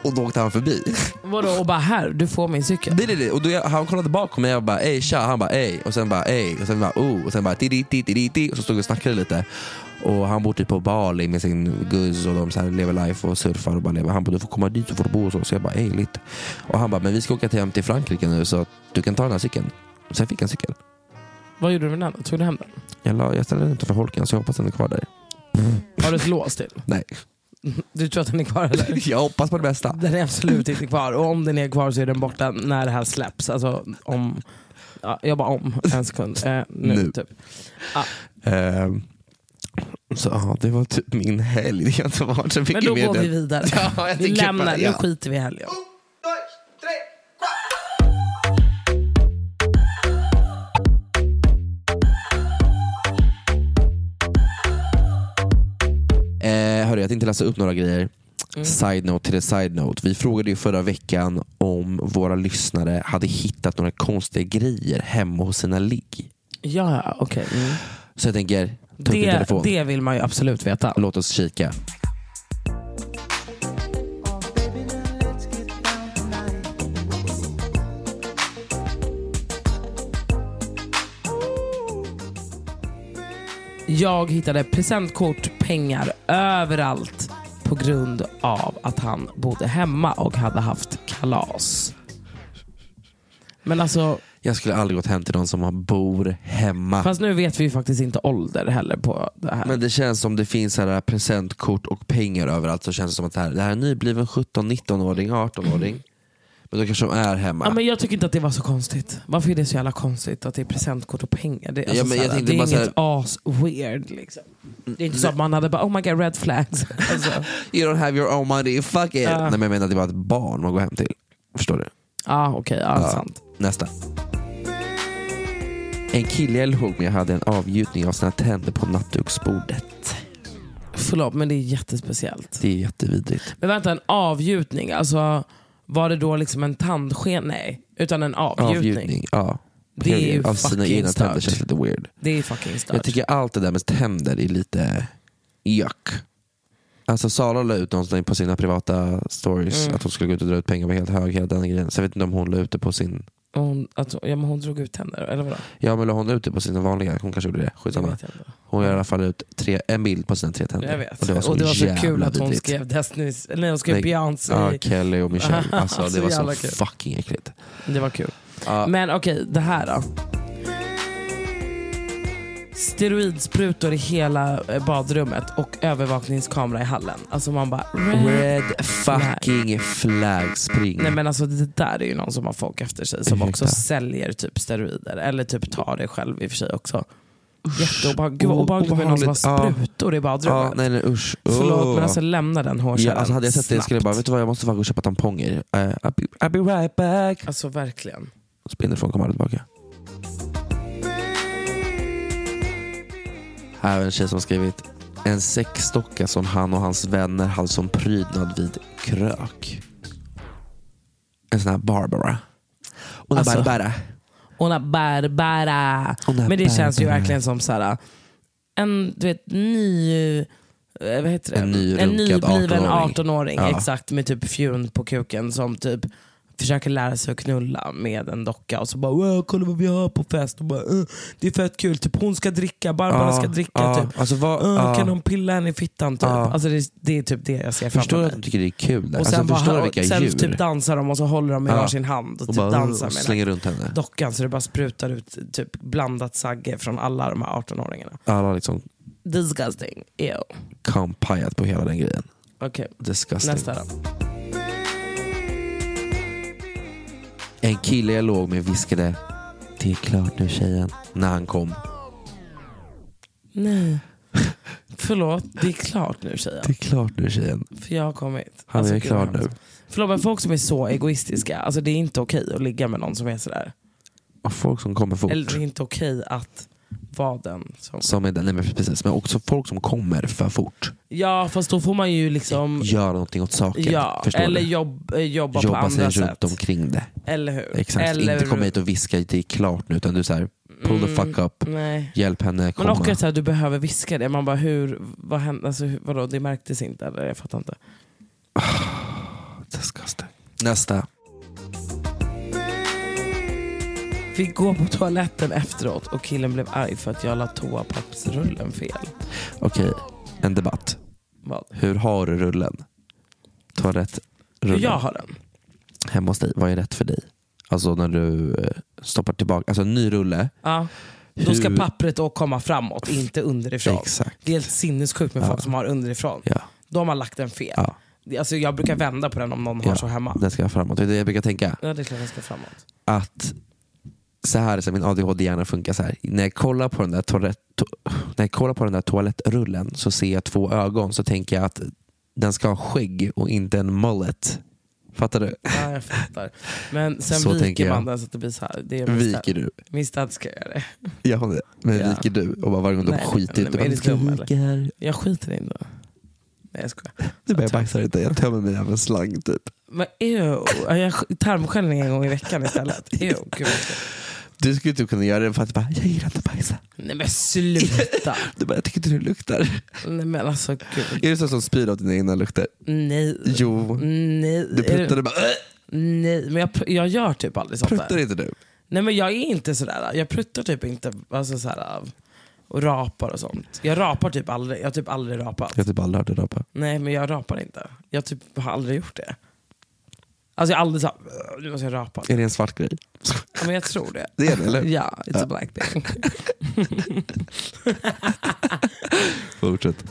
Speaker 3: Och då åkte han förbi.
Speaker 2: Vadå? Och bara här, du får min cykel.
Speaker 3: Det, det, det. Och då, jag- han kollade bakom mig och jag bara ej tja, han bara ej och sen bara ej och sen bara oh och sen bara ti ti ti ti ti och så stod vi och snackade lite. Och han bor typ på Bali med sin guzz och de så här lever life och surfar och bara lever. Han bara du får komma dit och får bo hos oss. Så jag bara ej lite. Och han bara men vi ska åka till- hem till Frankrike nu så att du kan ta den här cykeln. Och sen fick han cykeln.
Speaker 2: Vad gjorde du med den då? Tog du hem den?
Speaker 3: Jag, la, jag ställde den utanför holken så jag hoppas den är kvar där.
Speaker 2: Har du ett lås till?
Speaker 3: Nej,
Speaker 2: Du tror att den är kvar eller?
Speaker 3: jag hoppas på det bästa.
Speaker 2: Den är absolut inte kvar. Och om den är kvar så är den borta när det här släpps. Alltså om... Ja, jag bara om en sekund. Eh, nu,
Speaker 3: Nu.
Speaker 2: typ.
Speaker 3: Ehm, så ja, det var typ min helg. Det har inte varit så mycket
Speaker 2: Men då
Speaker 3: mer
Speaker 2: går
Speaker 3: än-
Speaker 2: vi vidare.
Speaker 3: Ja, jag
Speaker 2: vi
Speaker 3: tycker
Speaker 2: lämnar,
Speaker 3: bara-
Speaker 2: nu
Speaker 3: ja.
Speaker 2: skiter vi i helgen.
Speaker 3: Eh, hörru, jag tänkte läsa upp några grejer.
Speaker 2: Mm.
Speaker 3: Side-note till en side-note. Vi frågade ju förra veckan om våra lyssnare hade hittat några konstiga grejer hemma hos sina ligg.
Speaker 2: Ja, ja, okej. Mm.
Speaker 3: Så jag tänker, ta upp din
Speaker 2: Det,
Speaker 3: telefon.
Speaker 2: det vill man ju absolut veta.
Speaker 3: Låt oss kika.
Speaker 2: Jag hittade presentkort, pengar överallt på grund av att han bodde hemma och hade haft kalas. Men alltså,
Speaker 3: Jag skulle aldrig gått hem till någon som har- bor hemma.
Speaker 2: fast nu vet vi ju faktiskt inte ålder heller på det här.
Speaker 3: Men det känns som det finns så här presentkort och pengar överallt. Så känns det som att det här, det här är en nybliven 17-19-åring, 18-åring. Men då kanske de är hemma.
Speaker 2: ja, men jag tycker inte att det var så konstigt. Varför är det så jävla konstigt att det är presentkort och pengar? Det, är
Speaker 3: Ja,
Speaker 2: alltså
Speaker 3: men jag
Speaker 2: såhär,
Speaker 3: tänkte
Speaker 2: det är
Speaker 3: bara Mm,
Speaker 2: inget as-weird. Liksom. Det är inte så att man hade bara oh my god red flags. Alltså,
Speaker 3: You don't have your own money, fuck it.
Speaker 2: Ja.
Speaker 3: Nej, men jag menar att det var ett barn man går hem till. Förstår du?
Speaker 2: ja okej, ja, sant.
Speaker 3: Nästa. En kille jag låg med hade en avgjutning av sina tänder på nattduksbordet.
Speaker 2: Förlåt men det är jättespeciellt.
Speaker 3: Det är jättevidrigt.
Speaker 2: Men vänta, en avgjutning. Alltså, var det då liksom en tandsken? Nej, utan en avgjutning.
Speaker 3: Avgjutning. Ja.
Speaker 2: Det är ju
Speaker 3: av sina
Speaker 2: fucking
Speaker 3: egna tänder
Speaker 2: stört.
Speaker 3: känns lite weird.
Speaker 2: Det är fucking stört.
Speaker 3: Jag tycker allt det där med tänder är lite yuck. Alltså Sara la ut någonting på sina privata stories
Speaker 2: Mm.
Speaker 3: att hon skulle gå ut och dra ut pengar var helt hög hela den grejen. Så jag vet inte om hon la ut det på sin...
Speaker 2: hon, att, ja, men hon drog ut tänder, eller vadå?
Speaker 3: Ja men la hon ut det på sina vanliga? Hon kanske gjorde det.
Speaker 2: Det
Speaker 3: Skitsamma.
Speaker 2: vet jag inte.
Speaker 3: Hon gör i alla fall ut tre, en bild på sina tre tänder.
Speaker 2: Jag vet.
Speaker 3: Och det var så, jävla
Speaker 2: kul att hon
Speaker 3: vidrigt. ah,
Speaker 2: skrev Destiny's, nej hon skrev
Speaker 3: Nej.
Speaker 2: Beyoncé.
Speaker 3: Ja, Kelly och Michelle. Alltså,
Speaker 2: Så
Speaker 3: det var
Speaker 2: jävla
Speaker 3: så
Speaker 2: kul.
Speaker 3: fucking äckligt.
Speaker 2: Det var kul.
Speaker 3: Ja.
Speaker 2: Men okej, det här då. Steroidsprutor i hela eh, badrummet och övervakningskamera i hallen. Alltså man bara...
Speaker 3: Red fucking flag spring.
Speaker 2: Nej men alltså det där är ju någon som har folk efter sig som
Speaker 3: Ursäkta.
Speaker 2: också säljer typ steroider eller typ tar det själv i och för sig också. Jätteobehagligt. Gud vad
Speaker 3: O-
Speaker 2: obehagligt med någon som har
Speaker 3: Oh, obehagligt. Ja.
Speaker 2: sprutor i
Speaker 3: Ja,
Speaker 2: badrummet.
Speaker 3: Ah, nej, nej usch.
Speaker 2: Förlåt
Speaker 3: Åh.
Speaker 2: men alltså lämna den hårkärran
Speaker 3: ja, alltså hade jag sett det jag skulle jag bara,
Speaker 2: snabbt.
Speaker 3: vet du vad jag måste fan gå och köpa tamponger. Eh, I'll, be, I'll be right back.
Speaker 2: Alltså verkligen.
Speaker 3: Spindelfång kommer aldrig tillbaka. Här har en tjej som skrivit. En sexstocka som han och hans vänner hade som prydnad vid krök. En sån här Barbara. Och
Speaker 2: Alltså,
Speaker 3: Barbara.
Speaker 2: Ona Barbara.
Speaker 3: Hon är
Speaker 2: Men det känns ju
Speaker 3: Barbara.
Speaker 2: verkligen som så här, en du vet, ny... eh, Vad heter det?
Speaker 3: En ny
Speaker 2: en
Speaker 3: runkad
Speaker 2: nybliven
Speaker 3: 18-åring.
Speaker 2: 18-åring.
Speaker 3: Ja.
Speaker 2: Exakt, med typ fjun på kuken som typ försöker lära sig att knulla med en docka och så bara wow, kolla vad vi har på fest. Och bara, "Eh, det är fett kul, typ hon ska dricka, Barbara
Speaker 3: Ja,
Speaker 2: ska dricka.
Speaker 3: ja.
Speaker 2: typ.
Speaker 3: Alltså, vad,
Speaker 2: "Eh,
Speaker 3: ja.
Speaker 2: Kan hon pilla henne i fittan? Typ.
Speaker 3: Ja.
Speaker 2: Alltså, det, är- det är typ det jag ser
Speaker 3: Förstår
Speaker 2: framför
Speaker 3: du
Speaker 2: mig.
Speaker 3: att de tycker det är kul? Där?
Speaker 2: Och
Speaker 3: Alltså,
Speaker 2: sen,
Speaker 3: förstår du
Speaker 2: bara,
Speaker 3: vilka
Speaker 2: sen
Speaker 3: djur?
Speaker 2: typ dansar de och så håller de i
Speaker 3: Ja.
Speaker 2: varsin hand och,
Speaker 3: och
Speaker 2: typ
Speaker 3: bara,
Speaker 2: dansar
Speaker 3: och
Speaker 2: med den
Speaker 3: slänger runt henne.
Speaker 2: dockan så det bara sprutar ut typ blandat sagge från alla de här 18-åringarna.
Speaker 3: Alla liksom
Speaker 2: Disgusting. Ew.
Speaker 3: kampajat på hela den grejen.
Speaker 2: Okej,
Speaker 3: Disgusting.
Speaker 2: nästa då.
Speaker 3: En kille jag låg med viskade Det är klart nu tjejen. När han kom.
Speaker 2: Nej. Förlåt, det är klart nu tjejen.
Speaker 3: Det är klart nu tjejen.
Speaker 2: För jag har kommit. Alltså,
Speaker 3: Han är
Speaker 2: gud,
Speaker 3: klar
Speaker 2: vad hemskt.
Speaker 3: nu.
Speaker 2: Förlåt men folk som är så egoistiska, alltså det är inte okej att ligga med någon som är sådär.
Speaker 3: Och folk som kommer fort.
Speaker 2: Eller det är inte okej att vara den som...
Speaker 3: Som är, nej men precis, men också folk som kommer för fort.
Speaker 2: Ja fast då får man ju liksom...
Speaker 3: Gör någonting åt saken.
Speaker 2: Ja,
Speaker 3: förstår
Speaker 2: eller
Speaker 3: du?
Speaker 2: jobb, eh, jobba på
Speaker 3: Jobba
Speaker 2: andra
Speaker 3: sig
Speaker 2: sätt.
Speaker 3: runt omkring det.
Speaker 2: Eller hur?
Speaker 3: Exakt.
Speaker 2: Eller
Speaker 3: Inte komma hit och viska det är klart nu utan du säger pull the
Speaker 2: Mm.
Speaker 3: fuck up.
Speaker 2: Nej.
Speaker 3: Hjälp henne komma.
Speaker 2: Men också att så här, du behöver viska det. Man bara, hur, vad hände, alltså, hur, vadå, det märktes inte eller jag fattar inte.
Speaker 3: disgusting. Nästa.
Speaker 2: Vi går på toaletten efteråt och killen blev arg för att jag la toapappersrullen fel.
Speaker 3: Okej, en debatt.
Speaker 2: Vad?
Speaker 3: Hur har du rullen? Toalettrullen.
Speaker 2: Jag har den.
Speaker 3: Hemma hos dig, vad är rätt för dig? Alltså när du eh, stoppar tillbaka, alltså en ny rulle.
Speaker 2: Ja. Då ska
Speaker 3: Hur-
Speaker 2: pappret då komma framåt, inte underifrån.
Speaker 3: Exakt.
Speaker 2: Det är helt sinnessjukt med
Speaker 3: Ja.
Speaker 2: folk som har underifrån.
Speaker 3: Ja.
Speaker 2: De har lagt den fel.
Speaker 3: Ja.
Speaker 2: Alltså jag brukar vända på den om någon har
Speaker 3: Ja.
Speaker 2: så hemma.
Speaker 3: Den ska framåt. Det är det jag brukar tänka.
Speaker 2: Ja, det är klart den ska framåt.
Speaker 3: att så här, så här, min ADHD-hjärna funkar så här. När jag, kollar på den där toalett, to, när jag kollar på den där toalettrullen så ser jag två ögon så tänker jag att den ska ha skägg och inte en mullet. Fattar du?
Speaker 2: Ja, jag fattar. Men sen
Speaker 3: Så tänker
Speaker 2: viker
Speaker 3: jag.
Speaker 2: man den så att det blir så här. Det är min
Speaker 3: Viker
Speaker 2: stad-
Speaker 3: du?
Speaker 2: min stad ska göra det.
Speaker 3: Ja, det- men
Speaker 2: Ja.
Speaker 3: viker du? Och bara varje gång de
Speaker 2: Nej,
Speaker 3: skiter ut
Speaker 2: men är
Speaker 3: dig.
Speaker 2: du
Speaker 3: Du ska
Speaker 2: dum,
Speaker 3: vika här.
Speaker 2: Jag skiter i det. Nej jag skojar.
Speaker 3: Du bara, jag baxar inte. Jag tömmer mig av en slang typ.
Speaker 2: Men ew, Ja, jag sk- tarmsköljning en gång i veckan istället. Ew, gud. vad äckligt.
Speaker 3: Du skulle inte kunna göra det för att du bara, jag gillar inte att bajsa.
Speaker 2: Nej men sluta.
Speaker 3: Du bara, jag tycker inte hur det luktar.
Speaker 2: Nej men alltså gud.
Speaker 3: Är du sån som spyr av dina egna lukter?
Speaker 2: Nej.
Speaker 3: Jo.
Speaker 2: Nej.
Speaker 3: Du
Speaker 2: Är det-
Speaker 3: pruttar och bara, "Åh!"
Speaker 2: Nej, men jag, pr- jag gör typ aldrig sånt
Speaker 3: pruttar
Speaker 2: där.
Speaker 3: inte du?
Speaker 2: Nej men jag är inte sådär. Jag pruttar typ inte alltså såhär, av- och rapar och sånt. Jag rapar typ aldrig. Jag har typ aldrig rapat.
Speaker 3: Jag har typ aldrig hört dig rapa.
Speaker 2: Nej, men jag rapar inte. Jag typ har aldrig gjort det. Alltså jag har aldrig sagt nu måste jag rapa.
Speaker 3: Är det en svart grej?
Speaker 2: Ja, men jag tror det.
Speaker 3: Det är det, eller hur?
Speaker 2: Ja, it's a black thing.
Speaker 3: Fortsätt.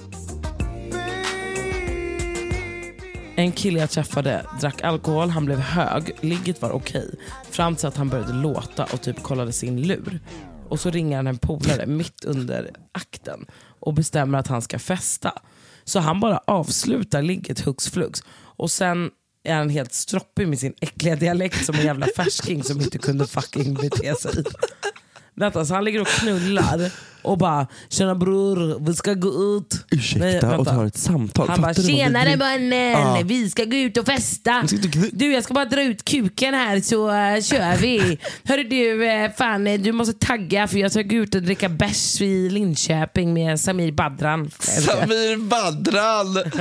Speaker 2: En kille jag träffade drack alkohol, han blev hög, ligget var okej. Fram till att han började låta och typ kollade sin lur. Och så ringer han en polare mitt under akten och bestämmer att han ska festa. Så han bara avslutar ligget hux flux. Och sen är han helt stroppig med sin äckliga dialekt som en jävla färsking som inte kunde fucking bete sig. Detta, så han ligger och knullar och bara “tjena bror, vi ska gå ut”.
Speaker 3: Ursäkta
Speaker 2: Nej, vänta.
Speaker 3: och tar ett samtal.
Speaker 2: Han bara
Speaker 3: Fattar du vad det
Speaker 2: “tjenare
Speaker 3: blir?
Speaker 2: mannen,
Speaker 3: Ja.
Speaker 2: vi ska gå ut och festa”.
Speaker 3: ska inte gnu-
Speaker 2: Du jag ska bara dra ut kuken här så eh, kör vi. Hörru du, eh, fan eh, du måste tagga för jag ska gå ut och dricka bärs i Linköping med Samir Badran.
Speaker 3: Samir Badran!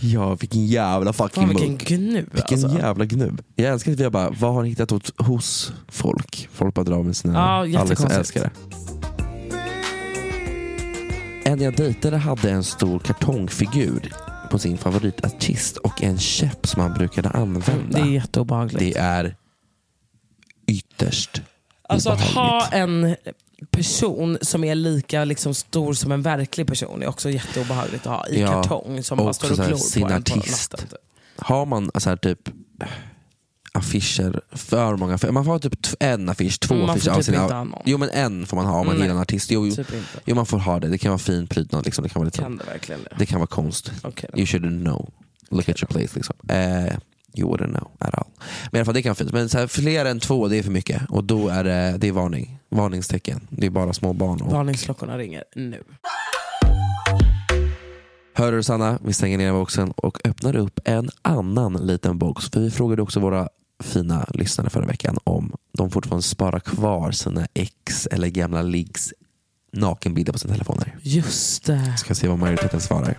Speaker 3: ja, vilken jävla fucking
Speaker 2: typ. Fan
Speaker 3: munk.
Speaker 2: vilken
Speaker 3: Vilken,
Speaker 2: gnu alltså.
Speaker 3: jävla gnubb. Jag älskar att vi har bara, vad har ni hittat hos, hos folk? Folk bara drar med sina...
Speaker 2: Ja, jättekonstigt.
Speaker 3: jag älskar det. En jag dejtade hade en stor kartongfigur på sin favoritartist och en käpp som han brukade använda.
Speaker 2: Det är jätteobehagligt.
Speaker 3: Det är ytterst
Speaker 2: Alltså att ha
Speaker 3: obehagligt.
Speaker 2: en person som är lika liksom, stor som en verklig person är också jätteobehagligt att ha i
Speaker 3: Ja,
Speaker 2: kartong som bara
Speaker 3: också
Speaker 2: står och
Speaker 3: så här,
Speaker 2: glor
Speaker 3: sin
Speaker 2: på en på
Speaker 3: artist.
Speaker 2: natten. typ.
Speaker 3: Har man så här typ affischer, för många affischer. Man får ha typ t- en affisch, två
Speaker 2: Man får
Speaker 3: affischer. av
Speaker 2: typ
Speaker 3: sina-
Speaker 2: inte ha någon.
Speaker 3: Jo men en får man ha om man
Speaker 2: Nej.
Speaker 3: gillar en artist. Jo, jo.
Speaker 2: Typ inte.
Speaker 3: jo man får ha det. Det kan vara fin prydnad. Liksom. Det, kan vara lite,
Speaker 2: Kan det verkligen det?
Speaker 3: det kan vara konst.
Speaker 2: Okej då.
Speaker 3: You shouldn't know. Look at your place. Liksom. Eh, you wouldn't know at all. Men i alla fall det kan vara fint. Men så här, fler än två det är för mycket. Och då är det, det är varning. Varningstecken. Det är bara små barn. Och...
Speaker 2: Varningsklockorna ringer nu.
Speaker 3: Hör du Sanna, vi stänger ner boxen och öppnar upp en annan liten box. För vi frågade också våra fina lyssnare förra veckan om de fortfarande sparar kvar sina ex eller gamla liggs nakenbilder på sina telefoner.
Speaker 2: Just det.
Speaker 3: Ska se vad majoriteten svarar.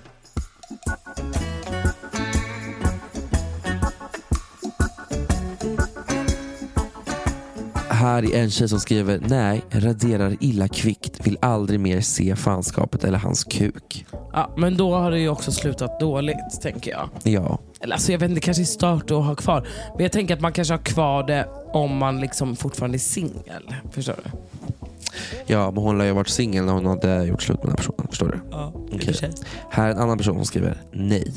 Speaker 3: Här är en tjej som skriver Nej, raderar illa kvickt. Vill aldrig mer se fanskapet eller hans kuk.
Speaker 2: Ja, men då har det ju också slutat dåligt, tänker jag.
Speaker 3: Ja,
Speaker 2: Eller alltså, jag vet inte, det kanske är stört att ha kvar. Men jag tänker att man kanske har kvar det om man liksom fortfarande är singel. Förstår du?
Speaker 3: Ja, men hon lär ju ha varit singel när hon hade gjort slut med den här personen. Förstår du?
Speaker 2: Ja,
Speaker 3: och för sig. Här är en annan person som skriver nej.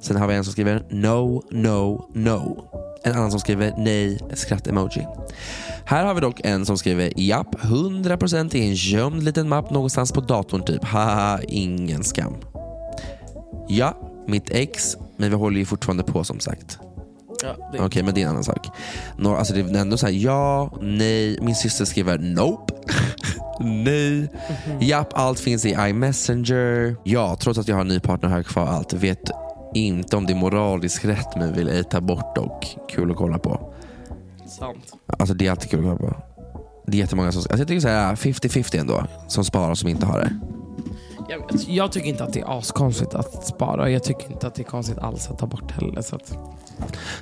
Speaker 3: Sen har vi en som skriver no, no, no. En annan som skriver nej, skratt-emoji. Här har vi dock en som skriver japp, 100% i en gömd liten mapp någonstans på datorn typ. Haha, ingen skam. Ja, mitt ex, men vi håller ju fortfarande på som sagt.
Speaker 2: Ja, det,
Speaker 3: Okej, men det är en annan sak. Nå, alltså det är ändå så här, ja, nej. Min syster skriver nope. nej. Japp, allt finns i iMessenger. Ja, trots att jag har en ny partner har jag kvar allt. Vet inte om det är moraliskt rätt men vill ej ta bort och kul att kolla på.
Speaker 2: sant.
Speaker 3: Alltså det är alltid kul att kolla på. Det är jättemånga som... Alltså jag tycker så här 50-50 ändå. Som sparar och som inte har det.
Speaker 2: Jag, vet, jag tycker inte att det är askonstigt att spara. Jag tycker inte att det är konstigt alls att ta bort heller. Så att,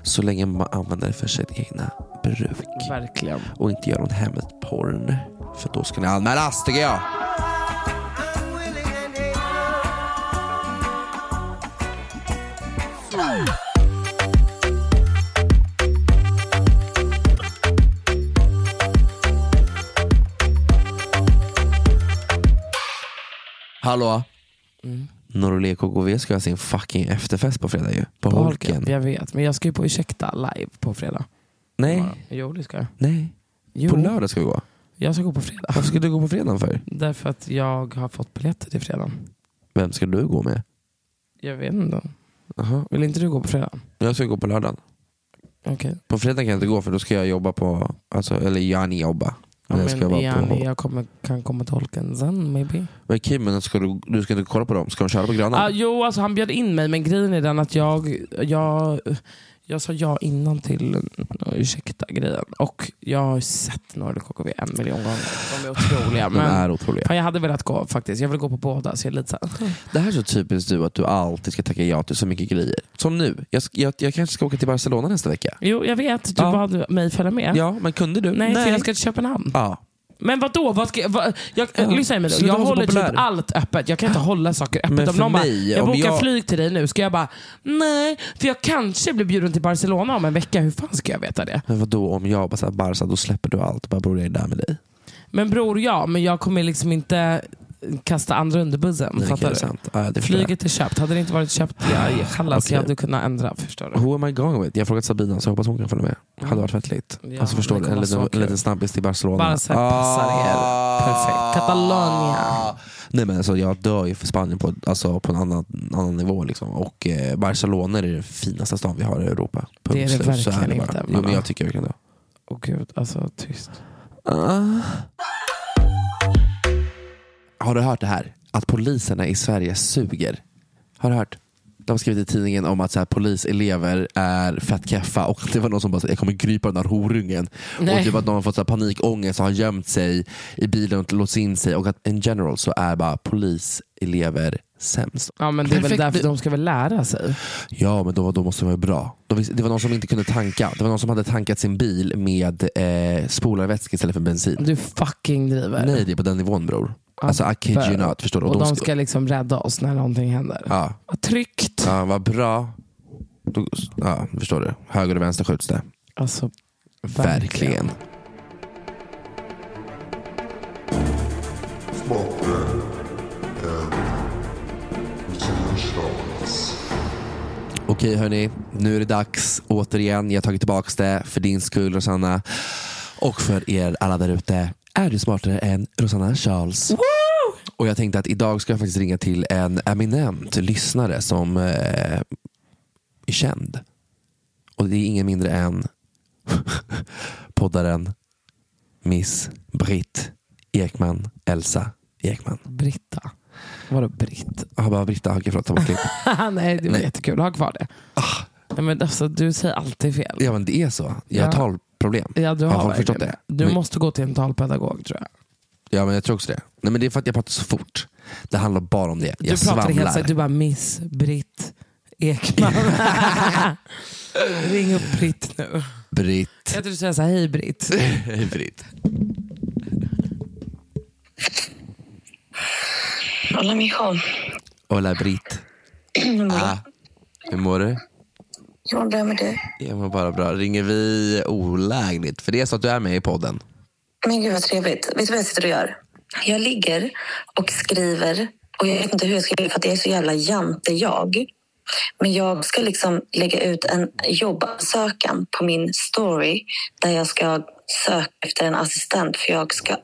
Speaker 3: Så länge man använder det för sitt egna bruk
Speaker 2: verkligen.
Speaker 3: och inte gör någon hemmet-porn. För då ska ni anmälas tycker jag. Hallå? Mm. Norrlek och KKV ska ha sin fucking efterfest på fredag ju. På Holken.
Speaker 2: Jag vet, men jag ska ju på Ursäkta live på fredag.
Speaker 3: Nej,
Speaker 2: Jo, det ska jag.
Speaker 3: nej.
Speaker 2: Jo,
Speaker 3: På lördag ska vi gå.
Speaker 2: Jag ska gå på fredag.
Speaker 3: Varför ska du gå på fredagen för?
Speaker 2: Därför att jag har fått biljetter till fredagen.
Speaker 3: Vem ska du gå med?
Speaker 2: Jag vet inte.
Speaker 3: Aha.
Speaker 2: Vill inte du gå på fredag?
Speaker 3: Jag ska gå på lördagen.
Speaker 2: Okej.
Speaker 3: På fredag kan jag inte gå för då ska jag jobba på, alltså, eller Jani jobba.
Speaker 2: Ja,
Speaker 3: Men jag
Speaker 2: men
Speaker 3: ska vara
Speaker 2: Janni,
Speaker 3: på,
Speaker 2: jag kommer, kan komma till Holken sen maybe.
Speaker 3: men Kim, men ska du, du ska inte kolla på dem? Ska de köra på Grönan?
Speaker 2: Ah, jo, alltså, han bjöd in mig, men grejen är den att jag, jag, jag sa ja innan till eh, ursäkta-grejen. Och jag har sett Nordic KKV en miljon gånger. De är otroliga.
Speaker 3: de
Speaker 2: Men,
Speaker 3: är otroliga.
Speaker 2: fan, jag hade velat gå faktiskt. Jag vill gå på båda. Så jag är lite så här,
Speaker 3: Det här är så typiskt du, att du alltid ska tacka ja till så mycket grejer. Som nu. Jag, sk- jag, jag kanske ska åka till Barcelona nästa vecka.
Speaker 2: Jo, jag vet. Du
Speaker 3: Ja.
Speaker 2: bad mig följa med.
Speaker 3: Ja, men kunde du?
Speaker 2: Nej, för jag ska till Köpenhamn.
Speaker 3: Ja.
Speaker 2: Men vadå? Vad ska, jag- vad, jag,
Speaker 3: Ja.
Speaker 2: Lyssna Emil,
Speaker 3: Sluta
Speaker 2: jag
Speaker 3: vara så
Speaker 2: håller
Speaker 3: populär.
Speaker 2: typ allt öppet. Jag kan inte hålla saker öppet.
Speaker 3: Men
Speaker 2: om
Speaker 3: för
Speaker 2: någon bara,
Speaker 3: mig,
Speaker 2: jag
Speaker 3: om
Speaker 2: bokar
Speaker 3: jag-
Speaker 2: flyg till dig nu, ska jag bara, nej, för jag kanske blir bjuden till Barcelona om en vecka. Hur fan ska jag veta det?
Speaker 3: Men vadå om jag bara säger Barca, då släpper du allt. Bara bror, jag är där med dig.
Speaker 2: Men bror, ja, men jag kommer liksom inte kasta andra under bussen.
Speaker 3: Nej, okej,
Speaker 2: fattar
Speaker 3: det är
Speaker 2: du?
Speaker 3: sant. Ja, det förstår jag.
Speaker 2: Flyget är köpt. Hade det inte varit köpt, ja, kallas,
Speaker 3: Okej.
Speaker 2: jag hade kunnat ändra. Förstår du?
Speaker 3: Who am I going with? Jag har frågat Sabina så jag hoppas hon kan följa med. Hade varit fett
Speaker 2: Mm. Ja,
Speaker 3: ja, Alltså förstår
Speaker 2: det
Speaker 3: du,
Speaker 2: kommer
Speaker 3: en
Speaker 2: vara
Speaker 3: liten,
Speaker 2: så kul.
Speaker 3: en liten snabbis till Barcelona. Ah.
Speaker 2: Barca passar er. Perfekt. Catalonia.
Speaker 3: Nej men alltså jag dör ju för Spanien på, alltså, på en annan, annan nivå. Liksom. Och eh, Barcelona är den finaste stan vi har i Europa. Punkt
Speaker 2: Det är det
Speaker 3: slut. Så
Speaker 2: verkligen
Speaker 3: bara.
Speaker 2: inte,
Speaker 3: Jo, men
Speaker 2: mamma.
Speaker 3: jag tycker verkligen det.
Speaker 2: Åh gud, alltså tyst.
Speaker 3: Ah. Har du hört det här? Att poliserna i Sverige suger. Har du hört? De har skrivit i tidningen om att så här, poliselever är fett keffa och det var någon som bara sa, jag kommer gripa den här horungen.
Speaker 2: Nej.
Speaker 3: Och typ att någon har fått så här, panikångest och har gömt sig i bilen och inte låst in sig. Och att in general så är bara poliselever sämst.
Speaker 2: Ja, men det är väl
Speaker 3: Perfekt.
Speaker 2: därför de ska väl lära sig.
Speaker 3: Ja, men då, då måste de vara bra. De, visste- det var någon som inte kunde tanka. Det var någon som hade tankat sin bil med eh, spolarvätska istället för bensin.
Speaker 2: Du fucking driver.
Speaker 3: Nej, det är på den nivån bror.
Speaker 2: Ja,
Speaker 3: Alltså I kid you
Speaker 2: bör.
Speaker 3: not. Förstår du?
Speaker 2: Och, de ska liksom rädda oss när någonting händer.
Speaker 3: Ja,
Speaker 2: Vad tryggt.
Speaker 3: ja vad bra. Då- Ja, förstår du. Höger och vänster skjuts det.
Speaker 2: Alltså,
Speaker 3: Verkligen. Okej hörni, nu är det dags återigen. Jag har tagit tillbaka det för din skull Rosanna. Och för er alla där ute. Är du smartare än Rosanna Charles? Och jag tänkte att idag ska jag faktiskt ringa till en eminent lyssnare som eh, är känd. Och det är ingen mindre än poddaren Miss Britt Ekman, Elsa Ekman.
Speaker 2: Britta. Vadå Britt?
Speaker 3: Jag bara Britta, okej förlåt, ta bort klipp.
Speaker 2: Nej, det var
Speaker 3: Nej. Ah.
Speaker 2: jättekul. Ha kvar det. Nej, men alltså, du säger alltid fel.
Speaker 3: Ja men det är så. Jag
Speaker 2: Ja.
Speaker 3: har talproblem.
Speaker 2: Ja, du
Speaker 3: Har
Speaker 2: har
Speaker 3: folk
Speaker 2: verkligen
Speaker 3: förstått det?
Speaker 2: Du
Speaker 3: Men-
Speaker 2: måste gå till en talpedagog tror jag.
Speaker 3: Ja men jag tror också det. Nej men det är för att jag pratar så fort. Det handlar bara om det.
Speaker 2: Du
Speaker 3: Jag
Speaker 2: pratar helt
Speaker 3: svamlar.
Speaker 2: såhär, du bara Miss Britt Ekman. Ring upp Britt nu.
Speaker 3: Britt.
Speaker 2: Jag tror du säger såhär, hej Britt.
Speaker 3: Hej Britt.
Speaker 1: Hola, mijo.
Speaker 3: Hola Britt. Ah, hur mår du?
Speaker 1: Jag mår bra med dig.
Speaker 3: Jag mår bara bra. Ringer vi olägligt? För det är så att du är med i podden.
Speaker 1: Men gud vad trevligt. Vet du vad jag sitter och gör? Jag ligger och skriver och jag vet inte hur jag ska göra för att jag är så jävla jante jag. Men jag ska liksom lägga ut en jobbansökan på min story där jag ska söka efter en assistent för jag ska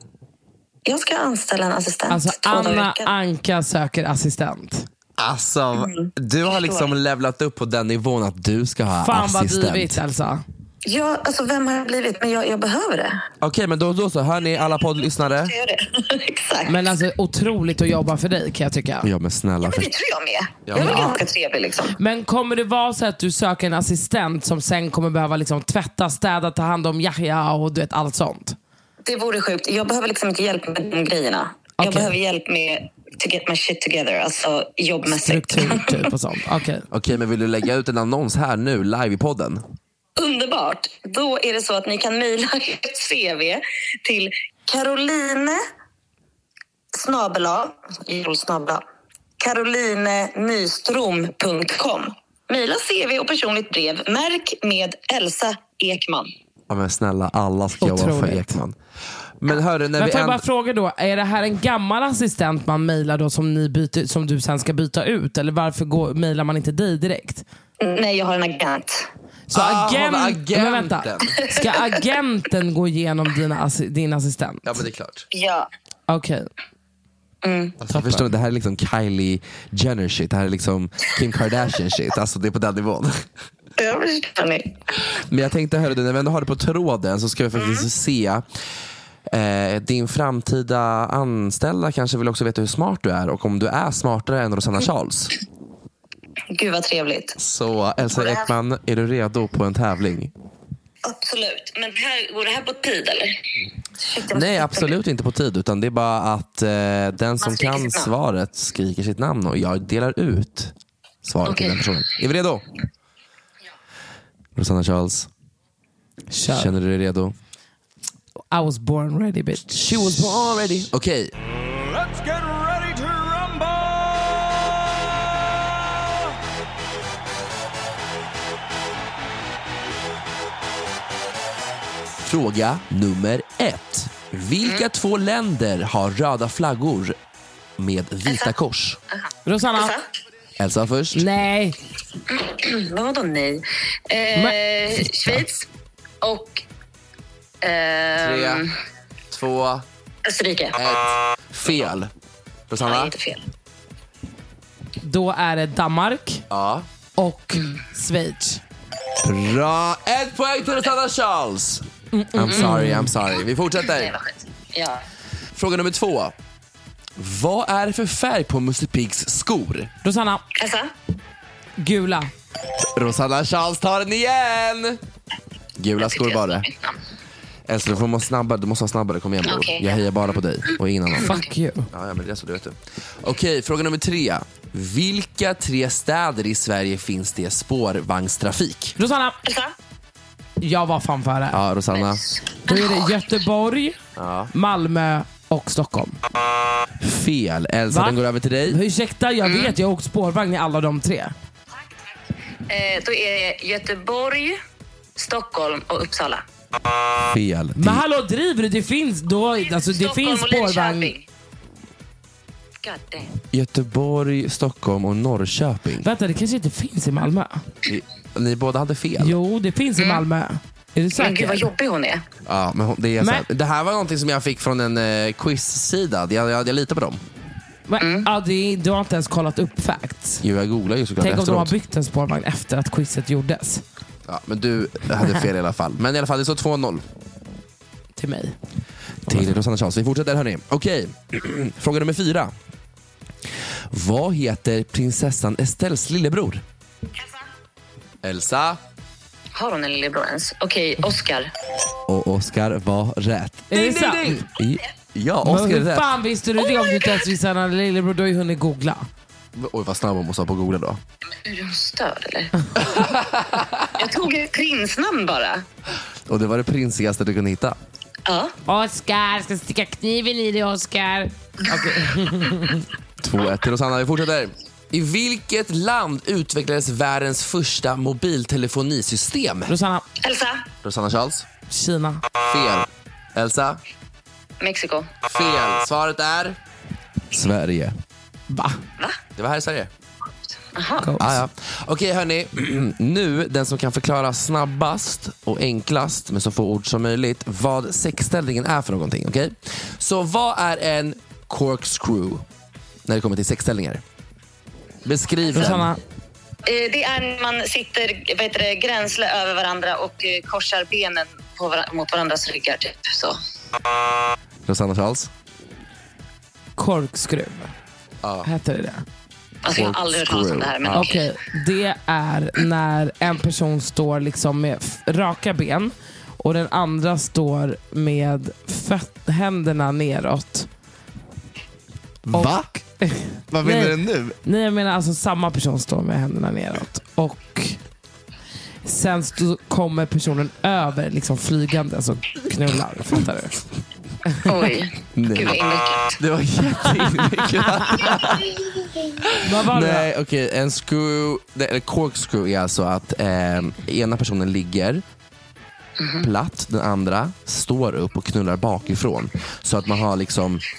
Speaker 1: jag ska anställa en assistent
Speaker 2: Alltså
Speaker 1: två dagar i
Speaker 2: Anna
Speaker 1: veckan.
Speaker 2: Anka söker assistent.
Speaker 3: Alltså,
Speaker 2: Mm.
Speaker 3: du har liksom levlat upp på den nivån att du ska ha
Speaker 2: Fan vad
Speaker 3: assistent.
Speaker 2: divigt Elsa.
Speaker 1: Ja, alltså vem har jag blivit? Men jag, jag behöver det.
Speaker 3: Okej, men då, då så. Hör ni alla poddlyssnare?
Speaker 1: Jag gör det. Exakt.
Speaker 2: Men alltså otroligt att jobba för dig kan jag tycka.
Speaker 3: Ja, men snälla.
Speaker 1: Men
Speaker 3: För...
Speaker 1: det tror jag med.
Speaker 3: Ja.
Speaker 1: Jag var
Speaker 3: Ja.
Speaker 1: ganska trevlig liksom.
Speaker 2: Men kommer det vara så att du söker en assistent som sen kommer behöva liksom tvätta, städa, ta hand om Yahya och du vet allt sånt?
Speaker 1: Det vore sjukt. Jag behöver liksom inte hjälp med de grejerna. Jag
Speaker 2: Okej.
Speaker 1: behöver hjälp med to get my shit together, alltså jobbmässigt.
Speaker 2: Struktur typ och sånt. Okej.
Speaker 3: Okej, men vill du lägga ut en annons här nu, live i podden?
Speaker 1: Underbart! Då är det så att ni kan mejla ert CV till Caroline snabela, jol snabela, carolinenystrom.com. Mejla CV och personligt brev. Märk med Elsa Ekman.
Speaker 3: Ja, men snälla, alla ska jobba för
Speaker 2: Otroligt.
Speaker 3: Ekman. Men hörru, när
Speaker 2: Men
Speaker 3: vi
Speaker 2: får jag bara
Speaker 3: ändå...
Speaker 2: fråga då, är det här en gammal assistent man mejlar då som, ni byter, som du sen ska byta ut? Eller varför går- mejlar man inte dig direkt?
Speaker 1: Nej, jag har en agent.
Speaker 2: Så
Speaker 3: Ah,
Speaker 2: agent,
Speaker 3: har vi agenten?
Speaker 2: Men vänta, ska agenten gå igenom dina, assi- din assistent?
Speaker 3: Ja, men det är klart.
Speaker 1: Ja.
Speaker 2: Okej.
Speaker 3: Alltså, jag förstår, det här är liksom Kylie Jenner shit. Det här är liksom Kim Kardashian shit. Alltså det är på den nivån.
Speaker 1: Jag förstår ni.
Speaker 3: Men jag tänkte, hörru du, när vi ändå har det på tråden så ska vi faktiskt
Speaker 2: Mm.
Speaker 3: se. Eh, din framtida anställda kanske vill också veta hur smart du är och om du är smartare än Rosanna Charles.
Speaker 1: Gud vad trevligt.
Speaker 3: Så Elsa Ekman, är du redo på en tävling?
Speaker 1: Absolut. Men det här, går det här på tid eller?
Speaker 2: Mm.
Speaker 1: Shit, jag måste-
Speaker 3: Nej, absolut inte på tid. Utan det är bara att eh, den som
Speaker 1: skriker
Speaker 3: kan
Speaker 1: sitt namn.
Speaker 3: svaret skriker sitt namn och jag delar ut svaret till
Speaker 1: Okej.
Speaker 3: den personen. Är vi redo? Rosanna Charles,
Speaker 2: Kör.
Speaker 3: känner du dig redo?
Speaker 2: I was born ready bitch. She was born ready.
Speaker 3: Okej,
Speaker 5: Let's get ready to rumble!
Speaker 3: fråga nummer ett. Vilka två länder har röda flaggor med vita kors?
Speaker 2: Rosanna.
Speaker 1: Elsa?
Speaker 3: Elsa först.
Speaker 2: Nej.
Speaker 1: Vad var de nej? Eh,
Speaker 2: Men-
Speaker 1: Schweiz och eh,
Speaker 3: Tre, två,
Speaker 1: Österrike.
Speaker 3: ett. Fel.
Speaker 1: Det är
Speaker 3: Rosanna?
Speaker 1: inte fel.
Speaker 2: Då är det Danmark
Speaker 3: Ja.
Speaker 2: och Schweiz.
Speaker 3: Bra! Ett poäng till Rosanna Charles. I'm sorry, I'm sorry. Vi
Speaker 1: Det var
Speaker 3: fortsätter.
Speaker 1: skit. Ja.
Speaker 3: Fråga nummer två. Vad är det för färg på Musse Pigs skor?
Speaker 2: Rosanna,
Speaker 1: Elsa?
Speaker 2: gula.
Speaker 3: Rosanna Charles tar den igen! Gula skor var det. Elsa, du får må snabbare. Du måste vara snabbare. Kom igen bror.
Speaker 1: Okej.
Speaker 3: Jag hejar bara på dig och ingen annan.
Speaker 2: Fuck you.
Speaker 3: Ja, ja, men det är så, det vet du. Okej, fråga nummer tre. Vilka tre städer i Sverige finns det spårvagnstrafik?
Speaker 2: Rosanna,
Speaker 1: Elsa?
Speaker 2: jag var fan före.
Speaker 3: Ja, Rosanna.
Speaker 2: Då är det Göteborg, Malmö och Stockholm.
Speaker 3: Fel. Elsa,
Speaker 2: Va?
Speaker 3: den går över till dig.
Speaker 2: Ursäkta, jag vet. Jag har åkt spårvagn i alla de tre.
Speaker 1: Eh, då är det Göteborg, Stockholm och Uppsala.
Speaker 3: Fel. Det-
Speaker 2: Men hallå, driver du? Det finns, då, alltså, det
Speaker 1: Stockholm
Speaker 2: finns
Speaker 1: och
Speaker 2: spårvagn.
Speaker 1: Linköping. God damn.
Speaker 3: Göteborg, Stockholm och Norrköping.
Speaker 2: Vänta, det kanske inte finns i Malmö?
Speaker 3: Ni, ni båda hade fel.
Speaker 2: Jo, det finns i Malmö. Är du
Speaker 1: Mm. Men gud vad
Speaker 2: säker?
Speaker 1: jobbig hon är.
Speaker 3: Ja, men hon- det, är så här,
Speaker 2: Men-
Speaker 3: det här var någonting som jag fick från en eh, quiz-sida. Jag, jag, jag litar på dem.
Speaker 2: Men,
Speaker 1: Mm.
Speaker 2: ja, det är, du har inte ens kollat upp facts.
Speaker 3: Jo, jag googlar ju såklart
Speaker 2: Tänk om de har
Speaker 3: efteråt.
Speaker 2: byggt en spårvagn efter att quizet gjordes
Speaker 3: Ja, men du hade fel i alla fall. Men i alla fall, det står 2-0
Speaker 2: till mig.
Speaker 3: till Rosanna Charles. Vi fortsätter hörni. Okej, fråga nummer fyra. Vad heter prinsessan Estelles lillebror? Elsa.
Speaker 1: Har hon en lillebror ens? Okej, Oscar.
Speaker 3: Och Oscar var rätt.
Speaker 2: Är det sant?
Speaker 3: I- Ja,
Speaker 2: Men
Speaker 3: Oscar är
Speaker 2: hur
Speaker 3: rätt.
Speaker 2: fan visste du det om du inte ens visste att han hade lillebror? Du har ju hunnit googla.
Speaker 3: Oj, vad snabb hon måste vara på att googla då.
Speaker 1: Är hon störd eller? Jag tog ett prinsnamn bara.
Speaker 3: Och det var det prinsigaste du kunde hitta.
Speaker 1: Ja.
Speaker 2: Oskar, ska sticka kniven i dig Oskar.
Speaker 3: 2-1 till Rosanna. Vi fortsätter. I vilket land utvecklades världens första mobiltelefonisystem?
Speaker 2: Rosanna,
Speaker 1: Elsa?
Speaker 3: Rosanna Charles?
Speaker 2: Kina.
Speaker 3: Fel. Elsa?
Speaker 1: Mexiko.
Speaker 3: Fel. Svaret är? Sverige.
Speaker 2: Va?
Speaker 3: Det var här i Sverige.
Speaker 2: Goals.
Speaker 3: Ah, ja. Okej hörni, nu den som kan förklara snabbast och enklast med så få ord som möjligt vad sexställningen är för någonting. Okej? Så vad är en corkscrew när det kommer till sexställningar? Beskriv den.
Speaker 2: Rosanna,
Speaker 1: Eh, Det är när man sitter vad heter det, gränsle över varandra och eh, korsar benen på var- mot varandras ryggar. Typ. Så.
Speaker 3: Rosanna Charles?
Speaker 2: korkskruv. Hette det det?
Speaker 1: Alltså, jag har aldrig hört talas om det här. Men
Speaker 2: Okej, det är när en person står liksom med f- raka ben och den andra står med föt- händerna neråt. Och-
Speaker 3: Va? Vad menar
Speaker 2: Nej.
Speaker 3: du nu?
Speaker 2: Nej, jag menar alltså samma person står med händerna neråt. Och sen så kommer personen över liksom flygande och knullar. Fattar du?
Speaker 1: Oj, gud vad invecklat.
Speaker 3: Det var jätteinvecklat.
Speaker 2: Vad var det?
Speaker 3: Nej, okej. En screw, nej, eller corkscrew är alltså att eh, ena personen ligger
Speaker 2: Mhm.
Speaker 3: platt, den andra står upp och knullar bakifrån. Så att man har liksom,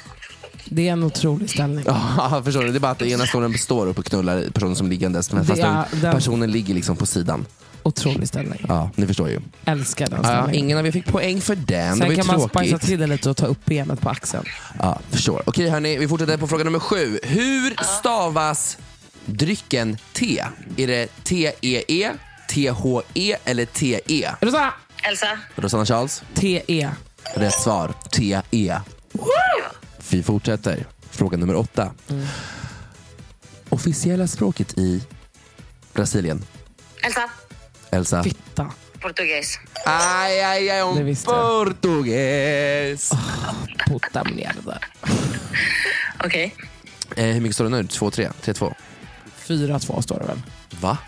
Speaker 2: Det är en otrolig ställning.
Speaker 3: ja förstår du? Det är bara att den ena personen står upp och knullar personen som liggandes. Men
Speaker 2: Det
Speaker 3: fast den,
Speaker 2: är- den-
Speaker 3: personen ligger liksom på sidan.
Speaker 2: Otrolig ställning.
Speaker 3: Ja, ni förstår ju.
Speaker 2: Älskar den
Speaker 3: Ja,
Speaker 2: ställningen.
Speaker 3: ingen av er fick poäng för den. det var
Speaker 2: Sen
Speaker 3: ju
Speaker 2: kan man spicea
Speaker 3: tråkigt.
Speaker 2: till det lite och ta upp benet på axeln.
Speaker 3: Ja, förstår. Okej hörni, vi fortsätter på fråga nummer sju. Hur stavas drycken te? Är det E T-E-E, T-H-E E eller T-E?
Speaker 2: Rosanna!
Speaker 1: Elsa,
Speaker 3: Rosanna Charles,
Speaker 2: T-E.
Speaker 3: rätt svar. T-E. Vi fortsätter. Fråga nummer åtta.
Speaker 2: Mm.
Speaker 3: Officiella språket i Brasilien.
Speaker 1: Elsa,
Speaker 3: Elsa?
Speaker 2: Fitta.
Speaker 1: portugis.
Speaker 3: Aj, aj, aj,
Speaker 2: Det
Speaker 3: om
Speaker 2: visste jag.
Speaker 3: portugis.
Speaker 2: Puta mierda.
Speaker 1: Okej.
Speaker 3: Eh, hur mycket står det nu? 2-3? 3-2?
Speaker 2: 4-2 står det väl?
Speaker 3: Va?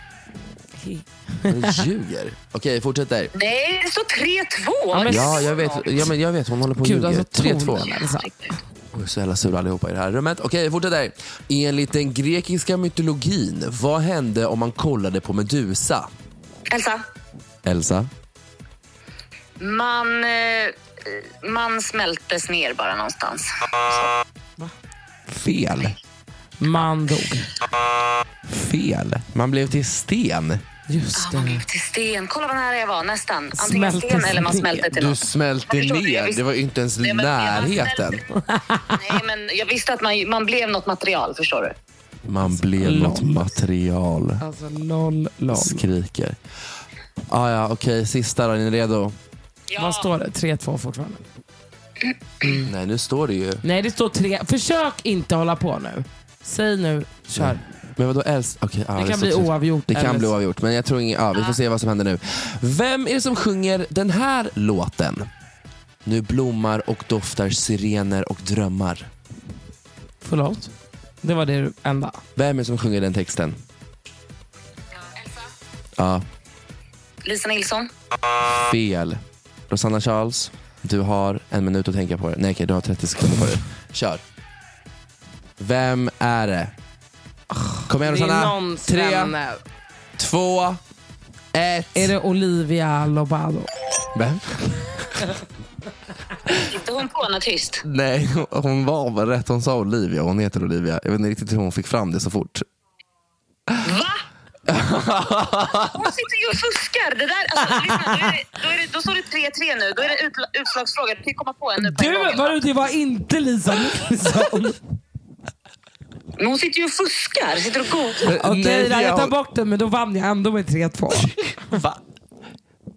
Speaker 3: Hon ljuger. Okej, fortsätter.
Speaker 1: Nej, det står 3-2.
Speaker 2: men-
Speaker 3: Ja, jag vet, ja, men jag vet. Hon håller på och
Speaker 2: Gud,
Speaker 3: ljuger.
Speaker 2: alltså
Speaker 3: 3-2.
Speaker 2: tonen. Elsa.
Speaker 3: Vi är så jävla sura allihopa i det här rummet. Okej, fortsätter. Enligt den grekiska mytologin, vad hände om man kollade på Medusa?
Speaker 1: Elsa,
Speaker 3: Elsa?
Speaker 1: man, eh, man smältes ner bara någonstans.
Speaker 3: Fel.
Speaker 2: Man dog.
Speaker 3: Fel. Man blev till sten.
Speaker 2: Just
Speaker 1: Man
Speaker 2: det.
Speaker 1: blev till sten. Kolla vad nära jag var. Nästan. Antingen
Speaker 2: Mm. Smältes
Speaker 1: sten eller man
Speaker 2: ner.
Speaker 1: smälte till
Speaker 3: Du
Speaker 1: något.
Speaker 3: smälte
Speaker 1: Jag förstår det, jag
Speaker 3: ner.
Speaker 1: visste-
Speaker 3: Det var ju inte ens i
Speaker 1: Nej, men det var
Speaker 3: närheten.
Speaker 1: Nej, men jag visste att man, man blev något material, förstår du.
Speaker 3: Man blev något material.
Speaker 2: Alltså noll, noll.
Speaker 3: Skriker. Ah, ja, okej. Sista då. Är ni redo?
Speaker 2: Vad står det? 3-2 fortfarande.
Speaker 3: Nej, nu står det ju...
Speaker 2: Nej, det står 3. Försök inte hålla på nu. Säg nu, kör.
Speaker 3: Men vadå Elsa? Okej, ja,
Speaker 2: Det kan
Speaker 3: är
Speaker 2: bli
Speaker 3: så trist.
Speaker 2: oavgjort,
Speaker 3: Det kan
Speaker 2: eller
Speaker 3: bli
Speaker 2: så-
Speaker 3: oavgjort, men jag tror ingen, ja, vi får se vad som händer nu. Vem är det som sjunger den här låten? Nu blommar och doftar sirener och drömmar.
Speaker 2: Förlåt? Det var det enda.
Speaker 3: Vem är det som sjunger den texten?
Speaker 1: Elsa.
Speaker 3: Ja,
Speaker 1: Lisa Nilsson.
Speaker 3: fel. Rosanna Charles, du har en minut att tänka på det. Nej, okej, du har 30 sekunder på dig. Kör. Vem är det? Kom igen
Speaker 2: Det är
Speaker 3: Rosanna.
Speaker 2: någon
Speaker 3: Tre,
Speaker 2: svenne.
Speaker 3: två, ett.
Speaker 2: Är det Olivia Lobado?
Speaker 3: Vem?
Speaker 1: Inte hon på något tyst.
Speaker 3: Nej, hon var väl rätt. Hon sa Olivia. Hon heter Olivia. Jag vet inte riktigt hur hon fick fram det så fort.
Speaker 1: Va? Hon sitter ju och fuskar. Det där, alltså, lyssna, då, är det, då, är det, då står det 3-3 nu. Då är det utla- utslagsfråga. Du kan ju komma på en nu på en
Speaker 2: Du,
Speaker 1: gång.
Speaker 2: var, det var inte Lisa Nilsson.
Speaker 1: Men hon sitter ju och fuskar. Sitter och
Speaker 3: Eh,
Speaker 1: googlar.
Speaker 2: Okej, då,
Speaker 3: Nej,
Speaker 2: jag tar bort den, men då vann jag ändå med 3-2.
Speaker 3: Va?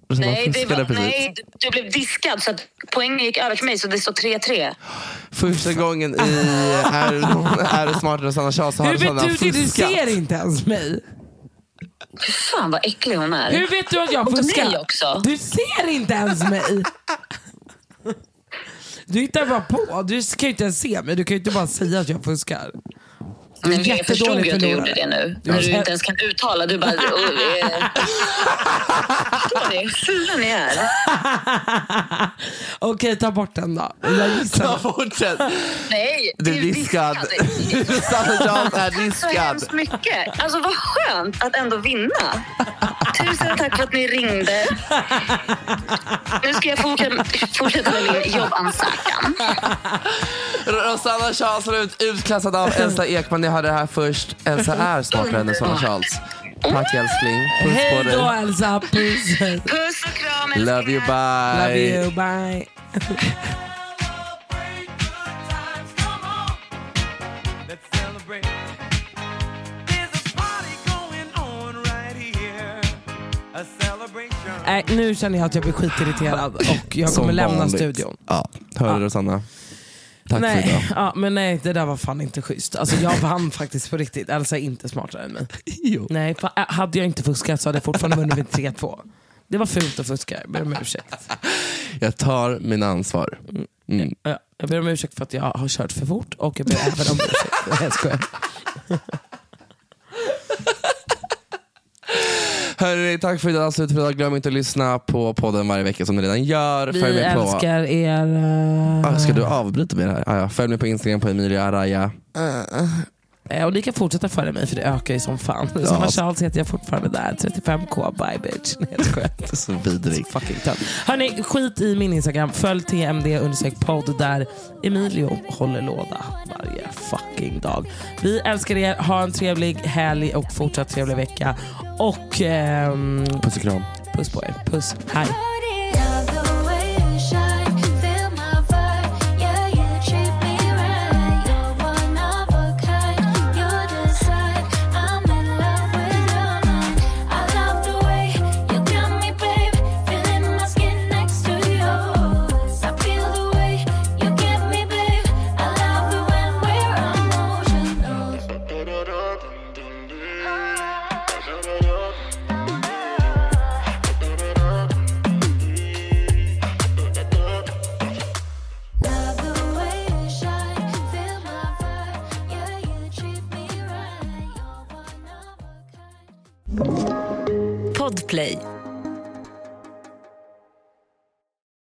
Speaker 3: Rosanna
Speaker 1: Nej, det
Speaker 3: fuskade
Speaker 1: var,
Speaker 3: precis.
Speaker 1: nej, du blev diskad så att poängen gick över till mig så det står 3-3.
Speaker 3: Första gången i Är, är du smartare än Sanna Charles så har
Speaker 2: Hur
Speaker 3: Rosanna
Speaker 2: vet du det? Du
Speaker 3: fuskat.
Speaker 2: ser inte ens mig.
Speaker 1: Fy fan vad äcklig hon är.
Speaker 2: Hur vet du att jag
Speaker 1: Och till
Speaker 2: fuskar?
Speaker 1: mig också.
Speaker 2: Du ser inte ens mig. Du hittar bara på. Du kan ju inte ens se mig. Du kan ju inte bara säga att jag fuskar.
Speaker 1: Nej, men jag
Speaker 2: jättedålig
Speaker 1: förstod ju att du
Speaker 2: förlorare.
Speaker 1: gjorde det nu. När du inte ens kan uttala. Du bara... Oh, eh. Förstår ni hur fula ni är?
Speaker 2: Okej, ta bort den då. Jag gissar.
Speaker 3: Fortsätt.
Speaker 1: Nej,
Speaker 3: Du
Speaker 1: det
Speaker 3: är
Speaker 1: är
Speaker 3: diskad. Sanna Charles är
Speaker 1: Så
Speaker 3: diskad.
Speaker 1: hemskt mycket. Alltså vad skönt att ändå vinna. Tusen tack för att ni ringde. Nu ska jag fortsätta, fortsätta med min jobbansökan.
Speaker 3: Rosanna Charles har blivit utklassad av Elsa Ekman. Ni hörde det här först. Elsa är smartare än Sanna Charles. Tack älskling. Puss på
Speaker 2: Hej då
Speaker 3: dig.
Speaker 2: Elsa. Puss.
Speaker 1: Puss och kram
Speaker 3: Love you,
Speaker 1: älsklingar.
Speaker 2: Love
Speaker 3: bye.
Speaker 2: you. Bye.
Speaker 5: Let's celebrate. There's a party going on right here. A celebration.
Speaker 2: Nej, nu känner jag att jag blir skitirriterad och jag
Speaker 3: Som
Speaker 2: kommer lämna
Speaker 3: vanligt.
Speaker 2: studion.
Speaker 3: Ja, hörde du Rosanna? Tack för idag.
Speaker 2: Nej, ja, men nej, det där var fan inte schysst. Alltså, jag vann faktiskt på riktigt. Elsa är inte smartare än mig.
Speaker 3: Jo.
Speaker 2: Nej, fa- äh, hade jag inte fuskat så hade jag fortfarande vunnit med 3-2. Det var fult att fuska. Jag ber om ursäkt.
Speaker 3: Jag tar min ansvar. Mm.
Speaker 2: Ja, Jag ber om ursäkt för att jag har kört för fort och jag ber även om ursäkt Jag skojar.
Speaker 3: Hörrni, tack för idag. Slut för idag. Glöm inte att lyssna på podden varje vecka som ni redan gör.
Speaker 2: Vi
Speaker 3: Följ mig på...
Speaker 2: älskar er. eh,
Speaker 3: Ah, ska du avbryta mig här? Ah, ja. Följ mig på Instagram på Emilia Araya.
Speaker 2: eh, Och ni kan fortsätta följa mig för det ökar ju som fan. Samma Charles heter jag fortfarande där. 35k, bye bitch. Nej, jag skojar.
Speaker 3: Det är så vidrig.
Speaker 2: Fucking tönt. Hörni, skit i min Instagram. Följ TMD undersök podd där Emilio håller låda varje fucking dag. Vi älskar er. Ha en trevlig helg och fortsatt trevlig vecka. Och ehm,
Speaker 3: Puss och kram.
Speaker 2: puss på er. Puss. Hej.
Speaker 6: Bye.